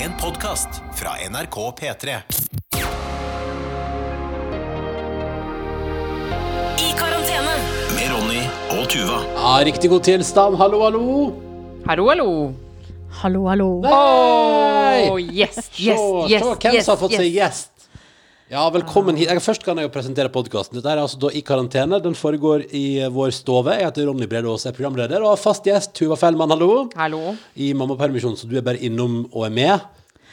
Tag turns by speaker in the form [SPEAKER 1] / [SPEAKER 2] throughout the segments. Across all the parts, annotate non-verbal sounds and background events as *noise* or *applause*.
[SPEAKER 1] En podkast fra NRK P3.
[SPEAKER 2] I karantene.
[SPEAKER 1] Med Ronny og Tuva.
[SPEAKER 3] Ja, riktig god tilstand. Hallo, hallo.
[SPEAKER 4] Hallo, hallo.
[SPEAKER 5] Hallo, hallo.
[SPEAKER 3] Hei!
[SPEAKER 4] Åh, Oh,
[SPEAKER 3] *laughs*
[SPEAKER 4] yes,
[SPEAKER 3] Se,
[SPEAKER 4] yes, yes,
[SPEAKER 3] se hvem
[SPEAKER 4] yes,
[SPEAKER 3] som har fått seg
[SPEAKER 4] yes.
[SPEAKER 3] gjest. Ja, velkommen hit. Jeg, først kan jeg jo presentere podkasten. Dette er altså da i karantene. Den foregår i eh, vår stove. Jeg heter Ronny Brede Aase, er programleder. Og fast gjest Tuva Fellmann, hallo.
[SPEAKER 4] Hallo.
[SPEAKER 3] I mammapermisjon, så du er bare innom og er med.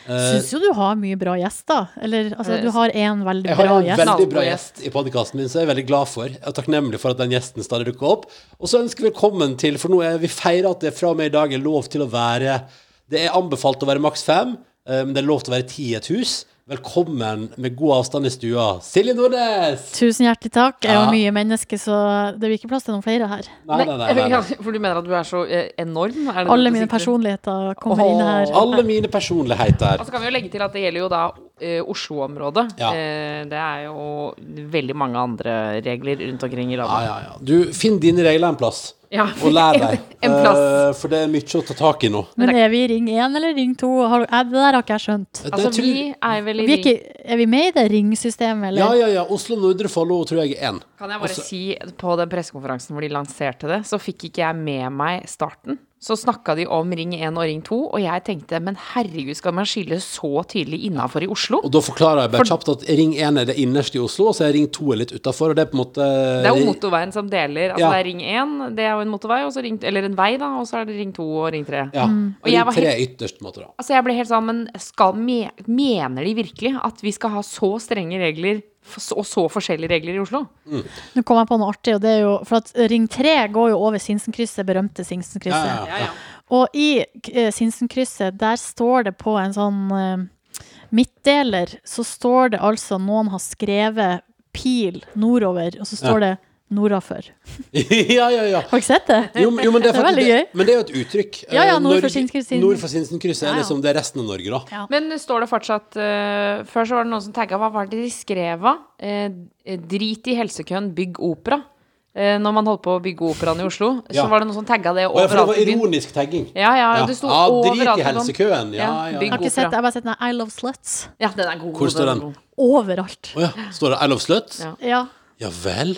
[SPEAKER 5] Syns jo du har mye bra gjester. Eller altså, du har én veldig
[SPEAKER 3] Eh, Jeg har
[SPEAKER 5] bra
[SPEAKER 3] en
[SPEAKER 5] gjest.
[SPEAKER 3] veldig bra
[SPEAKER 4] Knallgod
[SPEAKER 3] gjest i podkasten min, så jeg er veldig glad for. Og takknemlig for at den gjesten stadig dukker opp. Og så ønsker vi velkommen til, for nå er vi feirer at det fra og med i dag er lov til å være Det er anbefalt å være maks fem, eh, men det er lov til å være ti i et hus. Velkommen med god avstand i stua, Silje Nordnes!
[SPEAKER 5] Tusen hjertelig takk. Jeg er
[SPEAKER 3] Ja.
[SPEAKER 5] jo mye menneske, så det blir ikke plass til noen flere her.
[SPEAKER 3] Nei, nei, nei. nei,
[SPEAKER 4] *laughs* Ja,
[SPEAKER 3] nei.
[SPEAKER 4] for du mener at du er så eh, enorm? Er det det
[SPEAKER 5] Alle
[SPEAKER 4] du
[SPEAKER 5] mine
[SPEAKER 4] sikter-
[SPEAKER 5] personligheter kommer inn her.
[SPEAKER 3] Alle mine personligheter.
[SPEAKER 4] Og så kan vi jo legge til at det gjelder jo da eh, Oslo-området.
[SPEAKER 3] Ja.
[SPEAKER 4] Eh, det er jo veldig mange andre regler rundt omkring i
[SPEAKER 3] Ja,
[SPEAKER 4] landet.
[SPEAKER 3] ja, ja. Du, finn dine regler en plass,
[SPEAKER 4] Ja.
[SPEAKER 3] og lær deg.
[SPEAKER 4] *laughs* En- en plass.
[SPEAKER 3] Eh, For det er mye å ta tak i nå.
[SPEAKER 5] Men er vi i ring én eller ring to? Har- eh, Det der har ikke jeg skjønt.
[SPEAKER 3] Det
[SPEAKER 4] Altså,
[SPEAKER 3] tror-
[SPEAKER 4] vi er vel i
[SPEAKER 5] Vi er, ikke, er vi med i det ringsystemet, eller?
[SPEAKER 3] Ja, ja, ja. Oslo Nordre Follo tror jeg er én.
[SPEAKER 4] Kan jeg bare si, på den pressekonferansen hvor de lanserte det, så fikk ikke jeg med meg starten. Så snakka de om Ring 1 og Ring 2, og jeg tenkte men herregud, skal man skille så tydelig innafor i Oslo?
[SPEAKER 3] Og da forklarer jeg bare kjapt at Ring 1 er det innerste i Oslo, og så er Ring 2 er litt utafor. Og det er på en måte
[SPEAKER 4] Det er jo motorveien som deler.
[SPEAKER 3] Eh,
[SPEAKER 4] Altså
[SPEAKER 3] Ja.
[SPEAKER 4] det er Ring 1, det er jo en motorvei, og så ring, eller en vei, da, og så er det Ring 2 og Ring 3.
[SPEAKER 3] Ja.
[SPEAKER 4] Og jeg var
[SPEAKER 3] Ring 3
[SPEAKER 4] helt-
[SPEAKER 3] er ytterst, på en måte, da.
[SPEAKER 4] Altså jeg ble helt sånn, men skal, me, mener de virkelig at vi skal ha så strenge regler f- og så forskjellige regler i Oslo?
[SPEAKER 5] Nå kom jeg på noe artig, og det er jo For at ring tre går jo over Sinsenkrysset, berømte Sinsenkrysset.
[SPEAKER 3] Ja, ja, ja.
[SPEAKER 5] Og i eh, Sinsenkrysset, der står det på en sånn eh, midtdeler, så står det altså noen har skrevet pil nordover, og så står det nordafor.
[SPEAKER 3] *laughs* ja, ja, ja.
[SPEAKER 5] Har du ikke sett det?
[SPEAKER 3] Jo, men- jo, men det er,
[SPEAKER 5] Det er
[SPEAKER 3] faktisk,
[SPEAKER 5] veldig
[SPEAKER 3] det,
[SPEAKER 5] gøy.
[SPEAKER 3] men det er jo et uttrykk.
[SPEAKER 5] Ja, ja,
[SPEAKER 3] Eh,
[SPEAKER 5] nord for
[SPEAKER 3] Norge-
[SPEAKER 5] Sinsenkrysset.
[SPEAKER 3] Nord for Sinsenkrysset
[SPEAKER 5] Ja,
[SPEAKER 3] er
[SPEAKER 5] ja.
[SPEAKER 3] liksom det er resten av Norge, da.
[SPEAKER 5] Ja.
[SPEAKER 4] Men står det fortsatt eh, Før så var det noen som tagga hva var det de skrev av? Eh, drit i helsekøen, bygg opera. Eh, når man holdt på å bygge operaen i Oslo,
[SPEAKER 3] *laughs* Ja.
[SPEAKER 4] så var det noen som tagga det
[SPEAKER 3] Og ja, for det
[SPEAKER 4] overalt
[SPEAKER 3] var
[SPEAKER 4] i byen.
[SPEAKER 3] ironisk tagging.
[SPEAKER 4] Ja, ja,
[SPEAKER 3] Ja.
[SPEAKER 4] det sto
[SPEAKER 3] Ja, drit i
[SPEAKER 4] overalt. i byen.
[SPEAKER 3] helsekøen. Ja, ja.
[SPEAKER 4] bygg
[SPEAKER 5] Jeg har ikke
[SPEAKER 4] opera.
[SPEAKER 5] sett, jeg har bare sett den I Love Sluts
[SPEAKER 4] Ja, den er god.
[SPEAKER 3] Hvor står
[SPEAKER 4] er
[SPEAKER 3] den?
[SPEAKER 4] god.
[SPEAKER 5] overalt.
[SPEAKER 3] Å ja. Står det I love sluts? Ja,
[SPEAKER 4] Ja.
[SPEAKER 5] Ja.
[SPEAKER 3] vel.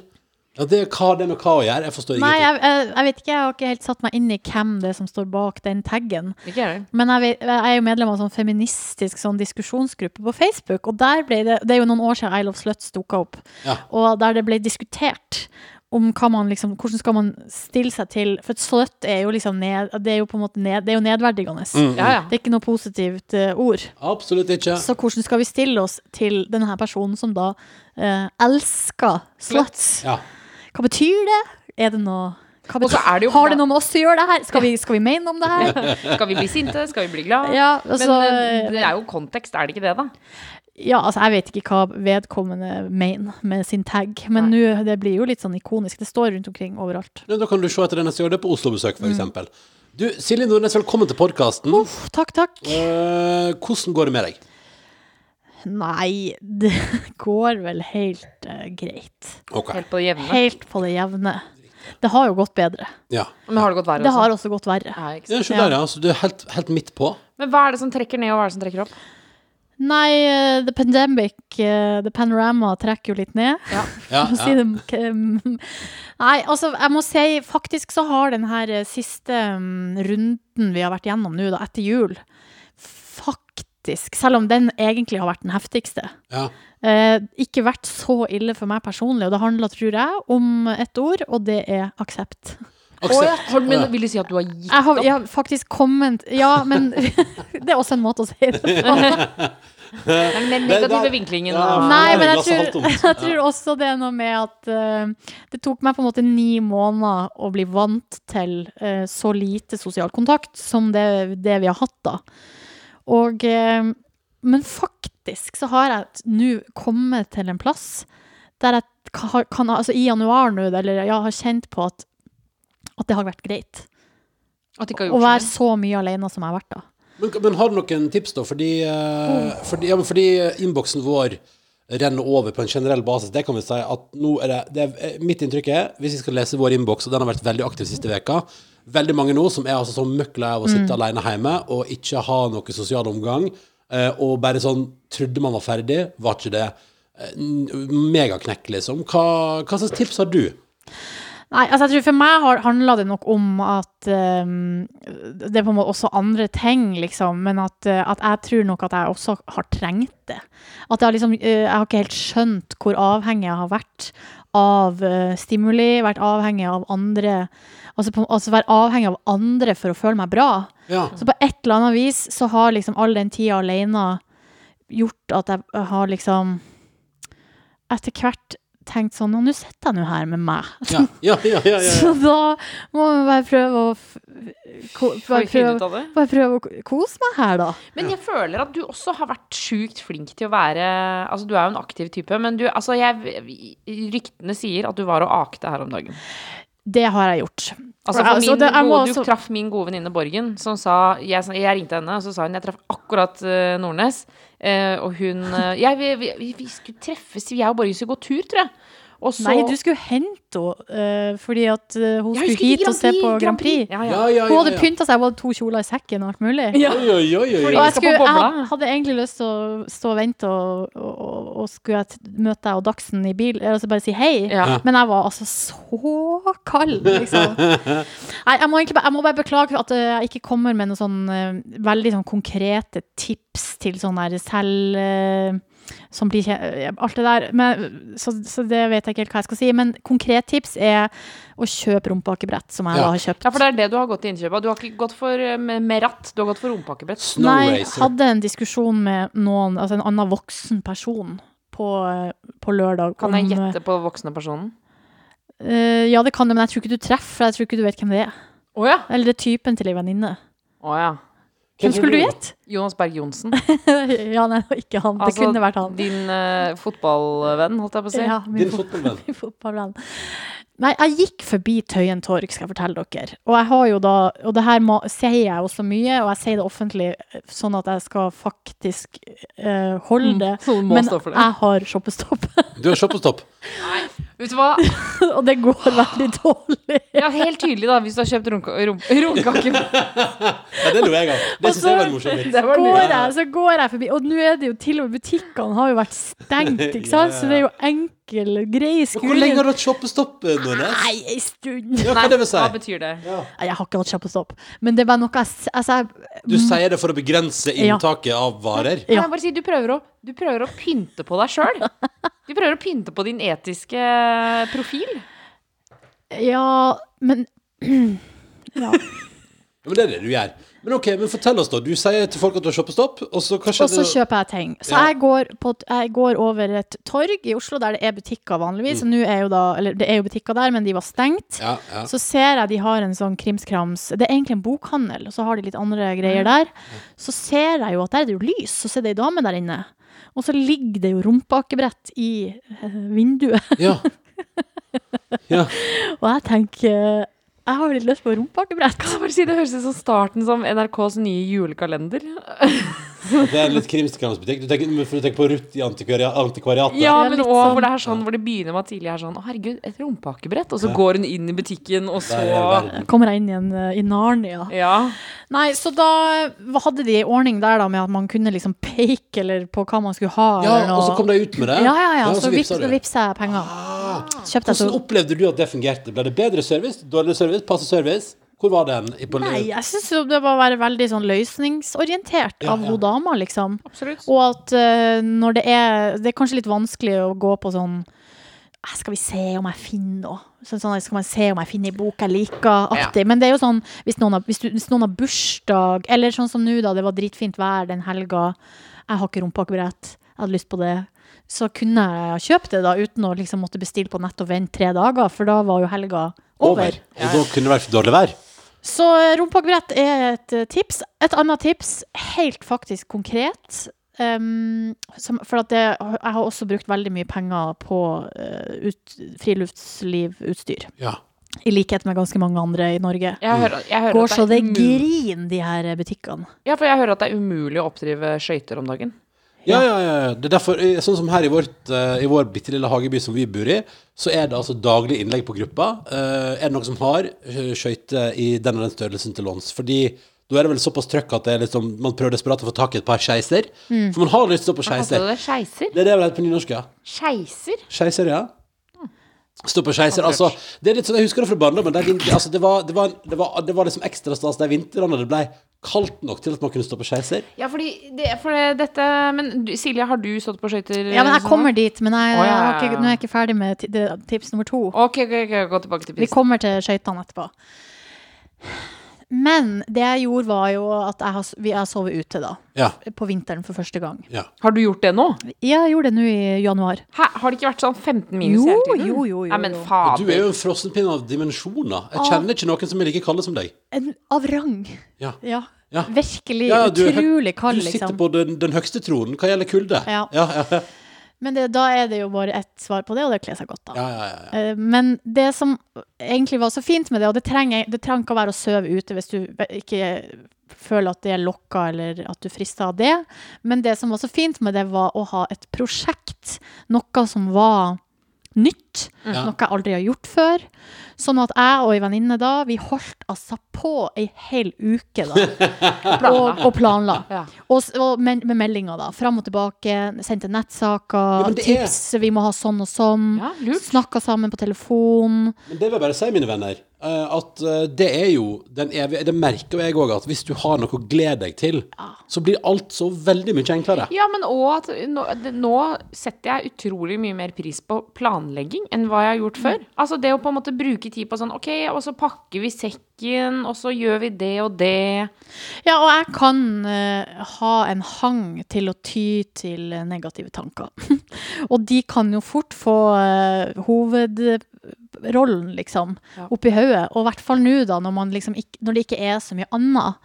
[SPEAKER 3] Ja, det er hva det er med hva å gjøre. Jeg forstår
[SPEAKER 5] Nei,
[SPEAKER 3] ingenting.
[SPEAKER 5] jeg, jeg, jeg vet ikke, jeg har ikke helt satt meg inn i hvem det er som står bak den taggen.
[SPEAKER 4] Ikke jeg heller.
[SPEAKER 5] Men jeg, vet, jeg er jo medlem av en sånn feministisk sånn diskusjonsgruppe på Facebook, og der ble det, det er jo noen år siden I Love Sluts dukka opp,
[SPEAKER 3] Ja.
[SPEAKER 5] og der det ble diskutert om hva man liksom, hvordan skal man stille seg til For et slutt er jo liksom ned, det er jo på en måte ned, det er jo nedverdigende.
[SPEAKER 4] Ja, ja.
[SPEAKER 5] Det er ikke noe positivt eh, ord.
[SPEAKER 3] Absolutt ikke.
[SPEAKER 5] Så hvordan skal vi stille oss til denne her personen som da eh, elsker sluts?
[SPEAKER 3] Ja.
[SPEAKER 5] Hva betyr det? Er det noe hva
[SPEAKER 4] Og så
[SPEAKER 5] betyr-
[SPEAKER 4] er det jo-
[SPEAKER 5] Har det noe med oss å gjøre, det her? Skal vi, skal vi mene noe om det
[SPEAKER 4] *laughs*
[SPEAKER 5] her?
[SPEAKER 4] Skal vi bli sinte? Skal vi bli glad?
[SPEAKER 5] Ja, altså,
[SPEAKER 4] Men eh, det er jo kontekst, er det ikke det, da?
[SPEAKER 5] Ja, altså jeg vet ikke hva vedkommende mener med sin tag, men nå, det blir jo litt sånn ikonisk. Det står rundt omkring overalt.
[SPEAKER 3] Ja, da kan du se etter det neste gang du er på Oslo-besøk, f.eks. eksempel Du, Silje Nordnes, velkommen til podkasten.
[SPEAKER 5] Uff, takk, takk.
[SPEAKER 3] Eh, hvordan går det med deg?
[SPEAKER 5] Nei, det *laughs* går vel helt eh, greit.
[SPEAKER 3] Ok,
[SPEAKER 4] Helt på det jevne.
[SPEAKER 5] Helt på det jevne. Det har jo gått bedre.
[SPEAKER 3] ja.
[SPEAKER 4] Men har det gått verre
[SPEAKER 5] Det
[SPEAKER 4] også?
[SPEAKER 5] har også gått verre.
[SPEAKER 4] Ja, ikke sant.
[SPEAKER 3] ja se der, ja. Så du er helt, helt midt på.
[SPEAKER 4] Men hva er det som trekker ned, og hva er det som trekker opp?
[SPEAKER 5] Nei, eh, the pandemic, eh, the panorama trekker jo litt ned.
[SPEAKER 3] Ja,
[SPEAKER 5] Å si
[SPEAKER 3] ja.
[SPEAKER 5] det *laughs* k- mm. Nei, altså, jeg må si faktisk så har den her eh, siste mm, runden vi har vært gjennom nå, da, etter jul, faktisk, selv om den egentlig har vært den heftigste,
[SPEAKER 3] ja.
[SPEAKER 5] eh, ikke vært så ille for meg personlig. Og det handler, tror jeg, om et ord, og det er aksept.
[SPEAKER 3] Aksept.
[SPEAKER 4] Har du-
[SPEAKER 3] Å,
[SPEAKER 4] Men
[SPEAKER 3] ja.
[SPEAKER 4] vil du si at du har gitt
[SPEAKER 5] Jeg har, jeg har faktisk kommet Ja, men *laughs* det er også en måte å si det på.
[SPEAKER 4] Den mer
[SPEAKER 3] Det-
[SPEAKER 4] negative
[SPEAKER 3] det-
[SPEAKER 4] vinklingen.
[SPEAKER 3] Ja,
[SPEAKER 4] da.
[SPEAKER 3] for da
[SPEAKER 5] Nei,
[SPEAKER 3] er
[SPEAKER 5] men jeg
[SPEAKER 3] glasset halvt
[SPEAKER 5] tror,
[SPEAKER 3] tomt.
[SPEAKER 5] *laughs* jeg tror også det er noe med at eh, det tok meg på en måte ni måneder å bli vant til eh, så lite sosial kontakt som det, det vi har hatt da. Og, eh, men faktisk så har jeg t- nå kommet til en plass der jeg ka- har- kan, altså i januar nå, eller jeg har kjent på at, at det har vært greit
[SPEAKER 4] At du ikke har
[SPEAKER 5] å
[SPEAKER 4] gjort
[SPEAKER 5] være
[SPEAKER 4] sånn.
[SPEAKER 5] så mye alene som jeg har vært da.
[SPEAKER 3] Men, men har du noen tips, da? Fordi, eh, fordi, ja, men fordi innboksen vår renner over på en generell basis. Det kan vi eh, si at nå er det, det er, Mitt inntrykk er, hvis vi skal lese vår innboks, og den har vært veldig aktiv siste veka veldig mange nå som er altså sånn møkla av å sitte alene hjemme og ikke ha noe sosial omgang, eh, og bare sånn trodde man var ferdig, var ikke det. Eh, n- Megaknekk, liksom. Hva, hva slags tips har du?
[SPEAKER 5] Nei, altså jeg tror for meg har, handla det nok om at ehm, Det er på en måte også andre ting, liksom. Men at, eh, at jeg tror nok at jeg også har trengt det. At jeg har liksom eh, Jeg har ikke helt skjønt hvor avhengig jeg har vært av eh, stimuli. Vært avhengig av andre Altså, på, altså være avhengig av andre for å føle meg bra.
[SPEAKER 3] Ja.
[SPEAKER 5] Så på et eller annet vis så har liksom all den tida alene gjort at jeg har liksom Etter hvert tenkt sånn «Å, Nå sitter jeg nå her med meg.
[SPEAKER 3] Ja, ja, ja, ja, ja.
[SPEAKER 5] Så da må vi bare prøve å f- ko,
[SPEAKER 4] Får
[SPEAKER 5] bare,
[SPEAKER 4] vi finne ut
[SPEAKER 5] prøve,
[SPEAKER 4] av det?
[SPEAKER 5] bare prøve å ko- kose meg her, da.
[SPEAKER 4] Men jeg føler at du også har vært sjukt flink til å være Altså, du er jo en aktiv type, men du Altså, jeg Ryktene sier at du var og akte her om dagen.
[SPEAKER 5] Det har jeg gjort.
[SPEAKER 4] Altså,
[SPEAKER 5] Ja,
[SPEAKER 4] for
[SPEAKER 5] så
[SPEAKER 4] min
[SPEAKER 5] det- jeg må
[SPEAKER 4] gode,
[SPEAKER 5] også-
[SPEAKER 4] Du traff min gode venninne Borgen, som sa jeg, sn- jeg ringte henne, og så sa hun jeg traff akkurat eh, Nordnes. eh, og hun eh, jeg, vi, vi, vi- vi skulle treffes, jeg og Borgen skulle gå tur, tror jeg. Og så
[SPEAKER 5] Nei, du skulle hente henne eh, fordi at eh, hun
[SPEAKER 4] Ja,
[SPEAKER 5] skulle
[SPEAKER 4] husker
[SPEAKER 5] hit og se på Grand Prix.
[SPEAKER 4] Ja, ja.
[SPEAKER 3] Ja, ja,
[SPEAKER 5] Hun
[SPEAKER 3] ja,
[SPEAKER 5] hadde
[SPEAKER 3] ja.
[SPEAKER 5] pynta seg, hun hadde to kjoler i sekken og alt mulig.
[SPEAKER 3] Oi, oi, oi, oi,
[SPEAKER 4] Fordi-
[SPEAKER 5] Og
[SPEAKER 3] oi.
[SPEAKER 4] skal på
[SPEAKER 5] jeg, skulle, jeg
[SPEAKER 4] bobla.
[SPEAKER 5] had- hadde egentlig lyst til å stå og vente, og, og, og, og skulle jeg t- møte deg og Dagsen i bil, eller altså bare si hei.
[SPEAKER 4] Ja.
[SPEAKER 5] Men jeg var altså så kald, liksom. Nei, jeg må, egentlig, bare- jeg må bare beklage at eh, jeg ikke kommer med noen sånn eh, veldig sånn konkrete tips til sånn der selv eh, som blir kje- Alt det der. Men, så, så det vet jeg ikke helt hva jeg skal si. Men konkret tips er å kjøpe rumpeakebrett, som jeg
[SPEAKER 3] Ja.
[SPEAKER 5] da har kjøpt.
[SPEAKER 4] ja, for det er det du har gått til innkjøp av. Du har ikke gått for eh, med- med ratt, du har gått for rumpakkebrett.
[SPEAKER 3] Snow
[SPEAKER 5] Nei, jeg
[SPEAKER 3] Racer.
[SPEAKER 5] hadde en diskusjon med noen, altså en annen voksen person på, eh, på lørdag.
[SPEAKER 4] Kan jeg
[SPEAKER 5] om,
[SPEAKER 4] gjette på voksne personen?
[SPEAKER 5] eh, ja, det kan du, men jeg tror ikke du treffer, for jeg tror ikke du vet hvem det er.
[SPEAKER 4] Å ja.
[SPEAKER 5] Eller det er typen til ei venninne.
[SPEAKER 4] Å ja.
[SPEAKER 5] Hvem skulle du gjette?
[SPEAKER 4] Jonas Berg Johnsen.
[SPEAKER 5] *laughs*
[SPEAKER 4] *laughs*
[SPEAKER 5] ja, nei, det var ikke han.
[SPEAKER 4] Altså,
[SPEAKER 5] det kunne vært han.
[SPEAKER 4] Din eh, fotballvenn, holdt jeg på å si.
[SPEAKER 5] Ja, min
[SPEAKER 3] Din
[SPEAKER 5] fot- *laughs*
[SPEAKER 3] fotballvenn.
[SPEAKER 5] min fotballvenn. Nei, jeg gikk forbi Tøyen torg, skal jeg fortelle dere. Og jeg har jo da, og det her ma- sier jeg også mye, og jeg sier det offentlig eh, sånn at jeg skal faktisk eh, holde det.
[SPEAKER 4] Mm, så du må
[SPEAKER 5] Men
[SPEAKER 4] stå for det.
[SPEAKER 5] jeg har shoppestopp. *laughs*
[SPEAKER 3] Du har shoppestopp.
[SPEAKER 4] Vet du hva?
[SPEAKER 5] Og det går
[SPEAKER 4] Ah,
[SPEAKER 5] veldig dårlig.
[SPEAKER 4] Ja, helt tydelig, da, hvis du har kjøpt runka- rum- *laughs* rundkake.
[SPEAKER 3] Ja, det lo jeg av. Det syns jeg var en morsom vits.
[SPEAKER 4] *laughs* Det var
[SPEAKER 5] Går
[SPEAKER 4] lurt.
[SPEAKER 5] jeg, så går jeg forbi. Og nå er det jo til og med butikkene har jo vært stengt, ikke
[SPEAKER 4] *laughs*
[SPEAKER 5] sant? Så det er jo enkel,
[SPEAKER 3] Hvor
[SPEAKER 5] grei
[SPEAKER 3] lenge
[SPEAKER 5] skuling.
[SPEAKER 3] har du hatt shoppestopp, eh, Nordnes?
[SPEAKER 5] Nei, ei stund.
[SPEAKER 3] Ja, hva
[SPEAKER 4] Nei,
[SPEAKER 3] *laughs* det vil si?
[SPEAKER 4] hva betyr det?
[SPEAKER 5] Nei, Jeg har ikke hatt shoppestopp. Men det er bare noe jeg s- altså, jeg-
[SPEAKER 3] Du sier det for å begrense
[SPEAKER 5] Ja.
[SPEAKER 3] inntaket av varer.
[SPEAKER 4] Kan
[SPEAKER 5] Ja.
[SPEAKER 4] jeg bare si, du prøver å, du prøver å pynte på deg sjøl. Du prøver å pynte på din etiske eh, profil.
[SPEAKER 5] Ja, men *clears throat*
[SPEAKER 3] Ja,
[SPEAKER 5] ja.
[SPEAKER 3] men det er det du gjør. Men ok, men fortell oss, da. Du sier til folk at du har shoppestopp, og så hva
[SPEAKER 5] Og så
[SPEAKER 3] skjedde?
[SPEAKER 5] kjøper jeg ting. Så
[SPEAKER 3] Ja.
[SPEAKER 5] jeg går, på, et- jeg går over et torg i Oslo der det er butikker vanligvis. Og nå er jo da, eller det er jo butikker der, men de var stengt.
[SPEAKER 3] Mm. Ja, ja.
[SPEAKER 5] Så ser jeg de har en sånn krimskrams Det er egentlig en bokhandel, og så har de litt andre greier der. Så ser jeg jo at der er det jo lys, så ser det ei dame der inne. Og så ligger det jo rumpeakebrett i eh, vinduet. *laughs*
[SPEAKER 3] ja. ja.
[SPEAKER 5] Og jeg tenker eh, Jeg har litt lyst på rumpeakebrett.
[SPEAKER 4] Kan jeg bare si, Det høres ut som starten som NRKs nye julekalender.
[SPEAKER 3] Det er en litt krimskramsbutikk. Du tenker, men for du tenker på Ruth i antikvaria, antikvariatet.
[SPEAKER 4] Ja,
[SPEAKER 5] Det er
[SPEAKER 4] men
[SPEAKER 5] litt
[SPEAKER 4] også
[SPEAKER 5] sånn-
[SPEAKER 4] hvor det er sånn hvor det begynner med at tidlig er sånn Å, herregud, et rumpeakebrett. Og så går hun inn i butikken, og
[SPEAKER 3] Der er
[SPEAKER 4] så
[SPEAKER 3] verden.
[SPEAKER 5] Kommer jeg inn igjen eh, i Narnia.
[SPEAKER 4] Ja.
[SPEAKER 5] Nei, så da hadde de en ordning der da med at man kunne liksom peke eller på hva man skulle ha.
[SPEAKER 3] Ja,
[SPEAKER 5] eller noe.
[SPEAKER 3] og så kom de ut med det.
[SPEAKER 5] Ja, ja, ja.
[SPEAKER 3] og
[SPEAKER 5] Så, vips,
[SPEAKER 3] vipsa
[SPEAKER 5] så
[SPEAKER 3] du.
[SPEAKER 5] vipsa jeg penger. Kjøpte jeg så
[SPEAKER 3] Hvordan opplevde du at det fungerte? Ble det bedre service? Dårligere service? Passe service? Hvor var den? i- på-
[SPEAKER 5] Nei, jeg syns jo det var å være veldig sånn løsningsorientert
[SPEAKER 3] Ja,
[SPEAKER 5] av
[SPEAKER 3] ja.
[SPEAKER 5] hun dama, liksom.
[SPEAKER 4] Absolutt.
[SPEAKER 5] Og at eh, når det er Det er kanskje litt vanskelig å gå på sånn «Eh, Skal vi se om jeg finner noe? Sånn, sånn, skal man se om jeg finner en bok jeg liker? Aktig. Men det er jo sånn hvis noen, har, hvis, du, hvis noen har bursdag, eller sånn som nå, da. Det var dritfint vær den helga. Jeg har ikke rumpeakebrett. Jeg hadde lyst på det. Så kunne jeg kjøpt det, da, uten å liksom måtte bestille på nett og vente tre dager, for da var jo helga
[SPEAKER 3] Over.
[SPEAKER 5] over.
[SPEAKER 3] Og da kunne det vært dårlig vær.
[SPEAKER 5] Så eh, rumpeakebrett er et eh, tips. Et annet tips, helt faktisk konkret em, som, For at det, jeg har også brukt veldig mye penger på eh, ut, friluftslivutstyr.
[SPEAKER 3] Ja.
[SPEAKER 5] I likhet med ganske mange andre i Norge.
[SPEAKER 4] Jeg hører, jeg hører
[SPEAKER 5] Går
[SPEAKER 4] at
[SPEAKER 5] så det
[SPEAKER 4] er umul-
[SPEAKER 5] griner, de her eh, butikkene.
[SPEAKER 4] Ja, for jeg hører at det er umulig å oppdrive skøyter om dagen.
[SPEAKER 3] Ja, ja, ja. ja. Det er derfor, eh, sånn som her i, vårt, eh, i vår bitte lille hageby som vi bor i, så er det altså daglig innlegg på gruppa. Eh, er det noen som har eh, skøyter i den og den størrelsen til låns? Fordi da er det vel såpass trøkk at det er liksom, man prøver desperat å få tak i et par skeiser. For man har lyst til å stå på
[SPEAKER 4] Kalte
[SPEAKER 3] skeiser.
[SPEAKER 4] du Altså, det skeiser?
[SPEAKER 3] Det er det vel helt på nynorsk, ja.
[SPEAKER 4] Skeiser?
[SPEAKER 3] Skeiser, ja. Mm. Stå på skeiser. Altså, det er litt sånn, jeg husker det fra barndommen. der vin- altså, det, var, det, var, en- det, var, det var liksom ekstra stas de vintrene det ble kaldt nok til at man kunne stå på skeiser.
[SPEAKER 4] Ja, fordi det, for det, dette Men du, Silje, har du stått på skøyter?
[SPEAKER 5] Ja, men jeg
[SPEAKER 4] sånn?
[SPEAKER 5] kommer dit, men jeg,
[SPEAKER 4] Å, ja,
[SPEAKER 5] jeg
[SPEAKER 4] ja,
[SPEAKER 5] har ikke,
[SPEAKER 4] ja.
[SPEAKER 5] nå er jeg ikke ferdig med ti- det- tips nummer to.
[SPEAKER 4] Ok, ok, ok, gå tilbake til
[SPEAKER 5] Vi
[SPEAKER 4] prisen.
[SPEAKER 5] kommer til skøytene etterpå. Men det jeg gjorde, var jo at jeg har, s- vi- jeg har sovet ute, da.
[SPEAKER 3] Ja,
[SPEAKER 5] På vinteren for første gang.
[SPEAKER 3] ja.
[SPEAKER 4] Har du gjort det nå?
[SPEAKER 5] Jeg gjorde det nå i januar.
[SPEAKER 4] Hæ, har det ikke vært sånn 15 minus
[SPEAKER 5] Jo,
[SPEAKER 4] hele tiden?
[SPEAKER 5] jo, jo, jo,
[SPEAKER 4] Nei, men
[SPEAKER 5] jo.
[SPEAKER 3] Og du er
[SPEAKER 4] fader.
[SPEAKER 3] jo en frossenpinn av dimensjoner. Jeg
[SPEAKER 5] Ah.
[SPEAKER 3] kjenner ikke noen som er like kalde som deg.
[SPEAKER 5] En, av rang.
[SPEAKER 3] Ja.
[SPEAKER 5] Ja.
[SPEAKER 3] Ja.
[SPEAKER 5] Virkelig
[SPEAKER 3] Ja, du er høy-
[SPEAKER 5] utrolig
[SPEAKER 3] Du
[SPEAKER 5] kald,
[SPEAKER 3] sitter
[SPEAKER 5] liksom.
[SPEAKER 3] på den, den høgste tronen hva gjelder kulde.
[SPEAKER 5] Ja.
[SPEAKER 3] Ja, ja, ja.
[SPEAKER 5] Men det, da er det jo bare ett svar på det, og det kler seg godt, da.
[SPEAKER 3] ja, ja, ja.
[SPEAKER 5] Eh, Men det som egentlig var så fint med det, og det trenger, det trenger ikke å være å søve ute hvis du ikke føler at det er lokka, eller at du frister av det, men det som var så fint med det, var å ha et prosjekt. Noe som var nytt,
[SPEAKER 3] Ja.
[SPEAKER 5] noe jeg aldri har gjort før. Sånn at jeg og ei venninne da, vi holdt altså på ei hel uke
[SPEAKER 3] *laughs*
[SPEAKER 5] da, og, og planla.
[SPEAKER 4] Ja.
[SPEAKER 5] Og, s- og med, med meldinger, da. Fram og tilbake. Sendte nettsaker,
[SPEAKER 3] men det er-
[SPEAKER 5] tips. Vi må ha sånn og sånn.
[SPEAKER 4] Ja, lurt.
[SPEAKER 5] Snakka sammen på telefon.
[SPEAKER 3] Men det vil jeg bare si, mine venner, eh, at eh, det er jo den evige Det merker jo jeg òg, at hvis du har noe å glede deg til, så blir alt så veldig mye enklere.
[SPEAKER 4] Ja, men òg at nå, det, nå setter jeg utrolig mye mer pris på planlegging enn hva jeg har gjort før. Altså det å på en måte bruke tid på sånn OK, og så pakker vi sekken, og så gjør vi det og det.
[SPEAKER 5] Ja, og jeg kan eh, ha en hang til å ty til eh, negative tanker. *laughs* og de kan jo fort få eh, hovedrollen, liksom,
[SPEAKER 4] Ja.
[SPEAKER 5] oppi hodet. Og i hvert fall nå, da, når, man liksom ikke, når det ikke er så mye annet.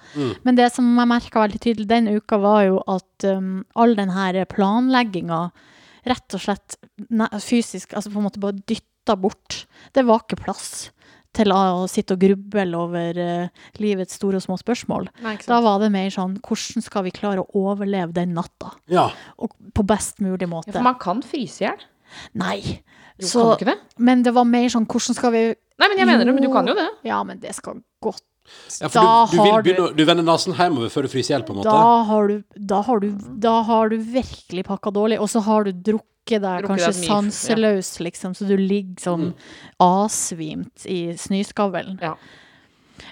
[SPEAKER 5] Men det som jeg merka veldig tydelig den uka, var jo at um, all den her planlegginga rett og slett ne- fysisk, altså på en måte bare dytta bort. Det var ikke plass til å sitte og gruble over eh, livets store og små spørsmål.
[SPEAKER 4] Nei, ikke sant.
[SPEAKER 5] Da var det mer sånn hvordan skal vi klare å overleve den natta?
[SPEAKER 3] Ja.
[SPEAKER 5] Og på best mulig
[SPEAKER 4] Ja,
[SPEAKER 5] måte.
[SPEAKER 4] for man kan fryse i hjel.
[SPEAKER 5] Nei.
[SPEAKER 4] Jo,
[SPEAKER 5] Så,
[SPEAKER 4] kan du ikke det?
[SPEAKER 5] men det var mer sånn hvordan skal vi
[SPEAKER 4] Nei, men jeg mener det, men du kan jo det.
[SPEAKER 5] Ja, men det skal godt.
[SPEAKER 3] ja for
[SPEAKER 5] da,
[SPEAKER 3] du, du vil
[SPEAKER 5] har du,
[SPEAKER 3] begynne å du vender nesen hjemover før du fryser i hjel, på en måte.
[SPEAKER 5] da har du Da har du Da har du virkelig pakka dårlig, og så har du drukket deg
[SPEAKER 4] Drukket
[SPEAKER 5] kanskje
[SPEAKER 4] deg mye, ja.
[SPEAKER 5] sanseløs, liksom, så du ligger sånn
[SPEAKER 3] Mm.
[SPEAKER 5] avsvimt i snøskavlen.
[SPEAKER 4] Ja.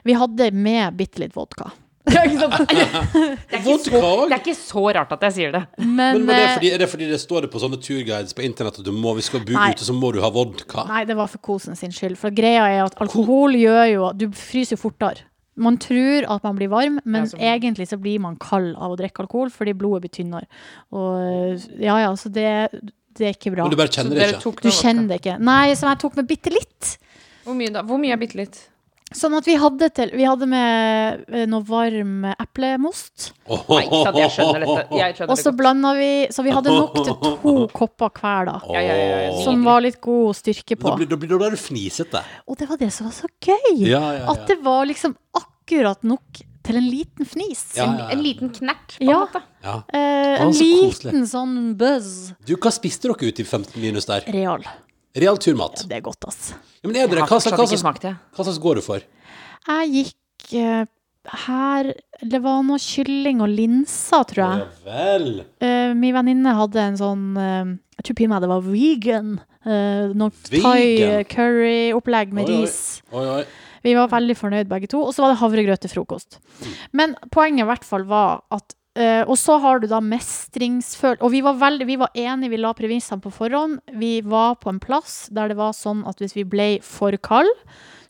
[SPEAKER 5] Vi hadde med bitte litt vodka.
[SPEAKER 4] Det er, ikke så,
[SPEAKER 3] Vodka også?
[SPEAKER 4] det er ikke så rart at jeg sier det.
[SPEAKER 5] Men,
[SPEAKER 3] Men, men det er,
[SPEAKER 5] eh,
[SPEAKER 3] fordi, er det fordi det står det på sånne turguides på internett at du må, hvis du skal bo
[SPEAKER 5] Nei.
[SPEAKER 3] ute, så må du ha vodka?
[SPEAKER 5] Nei, det var for kosen sin skyld. For greia er at alkohol gjør jo Du fryser jo fortere. Man tror at man blir varm, men
[SPEAKER 4] Ja, så-
[SPEAKER 5] egentlig så blir man kald av å drikke alkohol fordi blodet blir tynnere. Og ja, ja, så det, det er ikke bra.
[SPEAKER 3] Men du bare
[SPEAKER 4] Så
[SPEAKER 3] kjenner det
[SPEAKER 4] dere
[SPEAKER 3] ikke?
[SPEAKER 4] tok
[SPEAKER 5] Du
[SPEAKER 4] noe vodka.
[SPEAKER 5] kjenner det ikke. Nei, som jeg tok med bitte litt.
[SPEAKER 4] Hvor mye, da? Hvor mye er bitte litt?
[SPEAKER 5] Sånn at vi hadde, til, vi hadde med eh, noe varm eplemost,
[SPEAKER 4] Nei, ikke sant, jeg skjønner *laughs* dette. Jeg skjønner
[SPEAKER 5] og så
[SPEAKER 4] det godt.
[SPEAKER 5] blanda vi Så vi hadde nok til to
[SPEAKER 3] *laughs*
[SPEAKER 5] kopper hver, da.
[SPEAKER 4] Ja, ja, ja, ja, ja.
[SPEAKER 5] Som var litt god styrke
[SPEAKER 3] Da
[SPEAKER 5] på.
[SPEAKER 3] blir, da blir da er du fnisete.
[SPEAKER 5] Og det var det som var så gøy.
[SPEAKER 3] Ja, ja, ja.
[SPEAKER 5] At det var liksom akkurat nok til en liten fnis.
[SPEAKER 3] Ja, ja,
[SPEAKER 4] En liten knert, på en
[SPEAKER 5] Ja.
[SPEAKER 4] måte.
[SPEAKER 3] ja.
[SPEAKER 5] Eh, en
[SPEAKER 3] Å, så koselig.
[SPEAKER 5] liten sånn buzz.
[SPEAKER 3] Du, hva spiste dere ute i 15 minus der?
[SPEAKER 5] Real.
[SPEAKER 3] Real turmat.
[SPEAKER 5] Det er godt, ass.
[SPEAKER 3] Ja, men er
[SPEAKER 4] Jeg
[SPEAKER 3] dere,
[SPEAKER 4] har
[SPEAKER 3] hva, slags,
[SPEAKER 4] fortsatt
[SPEAKER 3] hva,
[SPEAKER 4] ikke
[SPEAKER 3] slags,
[SPEAKER 4] smakt det.
[SPEAKER 3] hva slags går du for?
[SPEAKER 5] Jeg gikk eh, her Det var noe kylling og linser, tror jeg.
[SPEAKER 3] Ja vel.
[SPEAKER 5] Eh, min venninne hadde en sånn eh, Jeg tror pinadø det var vegan. Uh, noe
[SPEAKER 3] Vegan?
[SPEAKER 5] thai-curry-opplegg med
[SPEAKER 3] Oi, oi.
[SPEAKER 5] ris.
[SPEAKER 3] Oi, oi.
[SPEAKER 5] Vi var veldig fornøyd begge to. Og så var det havregrøt til frokost. Men poenget i hvert fall var at eh, Og så har du da mestringsfølelse Og vi var, veldig, vi var enige, vi la premissene på forhånd. Vi var på en plass der det var sånn at hvis vi ble for kald,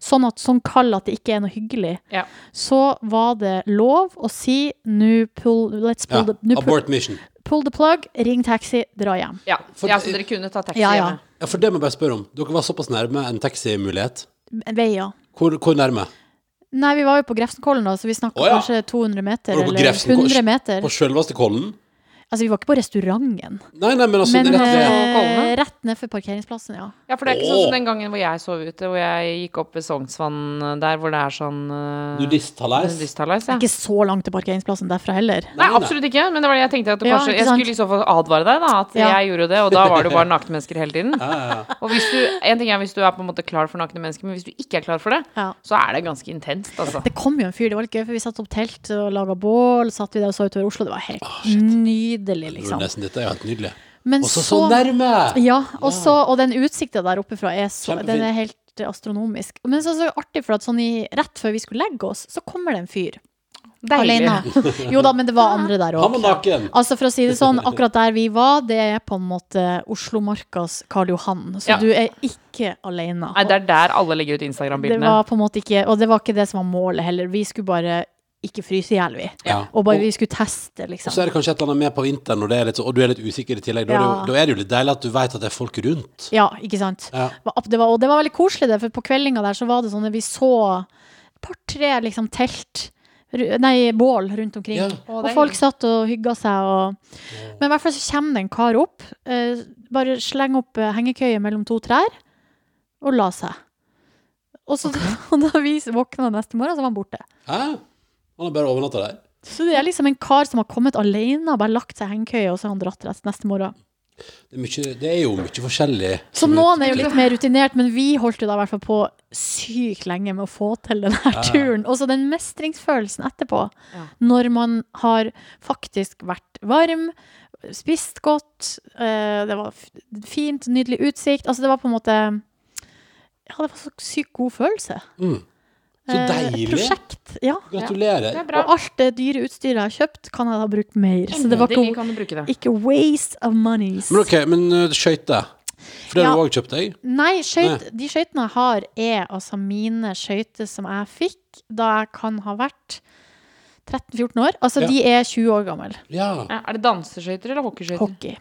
[SPEAKER 5] sånn, at, sånn kald at det ikke er noe hyggelig,
[SPEAKER 4] Ja.
[SPEAKER 5] så var det lov å si nå pull, let's
[SPEAKER 3] Ja.
[SPEAKER 5] pull, the, nå pull,
[SPEAKER 3] Abort mission.
[SPEAKER 5] pull the plug, ring taxi, dra hjem.
[SPEAKER 4] Ja.
[SPEAKER 3] For-
[SPEAKER 4] ja, så dere kunne ta taxi
[SPEAKER 5] Ja, ja.
[SPEAKER 4] hjemme.
[SPEAKER 3] Ja, for det må jeg bare spørre om. Dere var såpass nærme en taximulighet.
[SPEAKER 5] Veier.
[SPEAKER 3] Hvor, hvor nærme?
[SPEAKER 5] Nei, vi var jo på Grefsenkollen, da, så vi snakka
[SPEAKER 3] Å ja.
[SPEAKER 5] kanskje 200 meter,
[SPEAKER 3] Var det på
[SPEAKER 5] eller
[SPEAKER 3] Grefsenkollen?
[SPEAKER 5] 100 meter.
[SPEAKER 3] På selveste Kollen?
[SPEAKER 5] Altså, vi var ikke på restauranten,
[SPEAKER 3] Nei, nei, men altså
[SPEAKER 5] men
[SPEAKER 3] det er rett ved.
[SPEAKER 4] eh,
[SPEAKER 5] eh,
[SPEAKER 4] Kolne?
[SPEAKER 5] rett ned for parkeringsplassen, ja.
[SPEAKER 4] Ja, for det er ikke sånn
[SPEAKER 3] Åh.
[SPEAKER 4] som den gangen hvor jeg sov ute, hvor jeg gikk opp ved Sognsvann der, hvor det er sånn eh,
[SPEAKER 3] Nudisthallais.
[SPEAKER 4] Nudisthallais,
[SPEAKER 5] Det
[SPEAKER 4] ja.
[SPEAKER 5] er ikke så langt til parkeringsplassen derfra heller.
[SPEAKER 4] Nei,
[SPEAKER 3] Nei, nei.
[SPEAKER 4] absolutt ikke, men det var det jeg tenkte at det
[SPEAKER 5] Ja,
[SPEAKER 4] kanskje
[SPEAKER 5] ikke
[SPEAKER 4] Jeg
[SPEAKER 5] sant?
[SPEAKER 4] skulle i så fall advare deg, da, at
[SPEAKER 5] Ja.
[SPEAKER 4] jeg gjorde det, og da var
[SPEAKER 5] *laughs*
[SPEAKER 4] det jo bare nakne mennesker hele tiden.
[SPEAKER 3] Ja, ja, ja.
[SPEAKER 4] Og hvis du, en ting er hvis du er på en måte klar for nakne mennesker, men hvis du ikke er klar for det,
[SPEAKER 5] Ja.
[SPEAKER 4] så er det ganske intenst, altså.
[SPEAKER 5] Det kom jo en fyr, det var litt gøy, for vi satt opp telt og laga bål. Satt vi der og så utover Oslo. Det var helt nydelig,
[SPEAKER 3] Jeg tror
[SPEAKER 5] liksom.
[SPEAKER 3] nesten dette er jo helt nydelig.
[SPEAKER 5] Men
[SPEAKER 3] Og så så nærme!
[SPEAKER 5] Ja, og, så, og den utsikta der oppe fra er så
[SPEAKER 3] Kjempefin.
[SPEAKER 5] Den er helt astronomisk. Men så, så artig, for at sånn i, rett før vi skulle legge oss, så kommer det en fyr.
[SPEAKER 4] Deilig.
[SPEAKER 5] Alene. Jo da, men det var andre der
[SPEAKER 3] Han var
[SPEAKER 5] òg.
[SPEAKER 3] naken.
[SPEAKER 5] Altså for å si det sånn, akkurat der vi var, det er på en måte Oslomarkas Karl Johan. Så
[SPEAKER 4] Ja.
[SPEAKER 5] du er ikke alene.
[SPEAKER 4] Nei, det er der alle legger ut
[SPEAKER 5] Det
[SPEAKER 4] Instagram-bildene.
[SPEAKER 5] var på en måte ikke Og det var ikke det som var målet heller. Vi skulle bare ikke fryse i hjel, vi.
[SPEAKER 3] Ja.
[SPEAKER 5] Og bare vi skulle teste,
[SPEAKER 3] Og så
[SPEAKER 5] liksom.
[SPEAKER 3] er det kanskje et eller annet med på vinteren, og, det er litt, så- og du er litt usikker i tillegg. Da, er det jo,
[SPEAKER 5] Ja.
[SPEAKER 3] da er det jo litt deilig at du vet at det er folk rundt.
[SPEAKER 5] Ja, ikke sant.
[SPEAKER 3] Ja.
[SPEAKER 5] Det var, og det var veldig koselig, det, for på kveldinga der så var det sånn at vi så et par-tre liksom telt ru- Nei, bål rundt omkring.
[SPEAKER 3] Ja.
[SPEAKER 5] Og
[SPEAKER 4] det er
[SPEAKER 5] folk
[SPEAKER 4] hyggelig.
[SPEAKER 5] satt og hygga seg og Men i hvert fall så kommer det en kar opp. Eh, bare slenger opp eh, hengekøye mellom to trær og la seg. Og så *laughs* og da vi våkna neste morgen, så var han borte.
[SPEAKER 3] Hæ? Han har bare overnatta der.
[SPEAKER 5] Så det er liksom en kar som har kommet alene og bare lagt seg i hengekøye, og så har han dratt rett neste morgen.
[SPEAKER 3] Det er, mye, det er jo mye forskjellig.
[SPEAKER 5] Så
[SPEAKER 3] som
[SPEAKER 5] noen er jo
[SPEAKER 3] utvikler.
[SPEAKER 5] litt mer rutinert, men vi holdt jo da i hvert fall på sykt lenge med å få til den her turen. Og så den mestringsfølelsen etterpå,
[SPEAKER 4] Ja.
[SPEAKER 5] når man har faktisk vært varm, spist godt, eh, det var f- fint, nydelig utsikt. Altså det var på en måte Ja, det var så sykt god følelse.
[SPEAKER 3] Mm. Så
[SPEAKER 5] Eh,
[SPEAKER 3] deilig.
[SPEAKER 5] prosjekt. Ja.
[SPEAKER 3] Gratulerer.
[SPEAKER 4] Det er bra.
[SPEAKER 5] Og alt det dyre utstyret jeg har kjøpt, kan jeg da bruke mer. Så det var
[SPEAKER 4] Endelig
[SPEAKER 5] ikke,
[SPEAKER 4] kan du bruke det.
[SPEAKER 5] ikke waste of monies.
[SPEAKER 3] Men ok, men uh, skøyter. For det har
[SPEAKER 5] Ja.
[SPEAKER 3] du òg kjøpt deg?
[SPEAKER 5] Nei, skøyt, de skøytene jeg har, er altså mine skøyter som jeg fikk da jeg kan ha vært 13-14 år. Altså,
[SPEAKER 3] Ja.
[SPEAKER 5] de er 20 år gamle.
[SPEAKER 3] Ja.
[SPEAKER 4] Ja, Er det danseskøyter eller hockeyskøyter?
[SPEAKER 5] Hockey.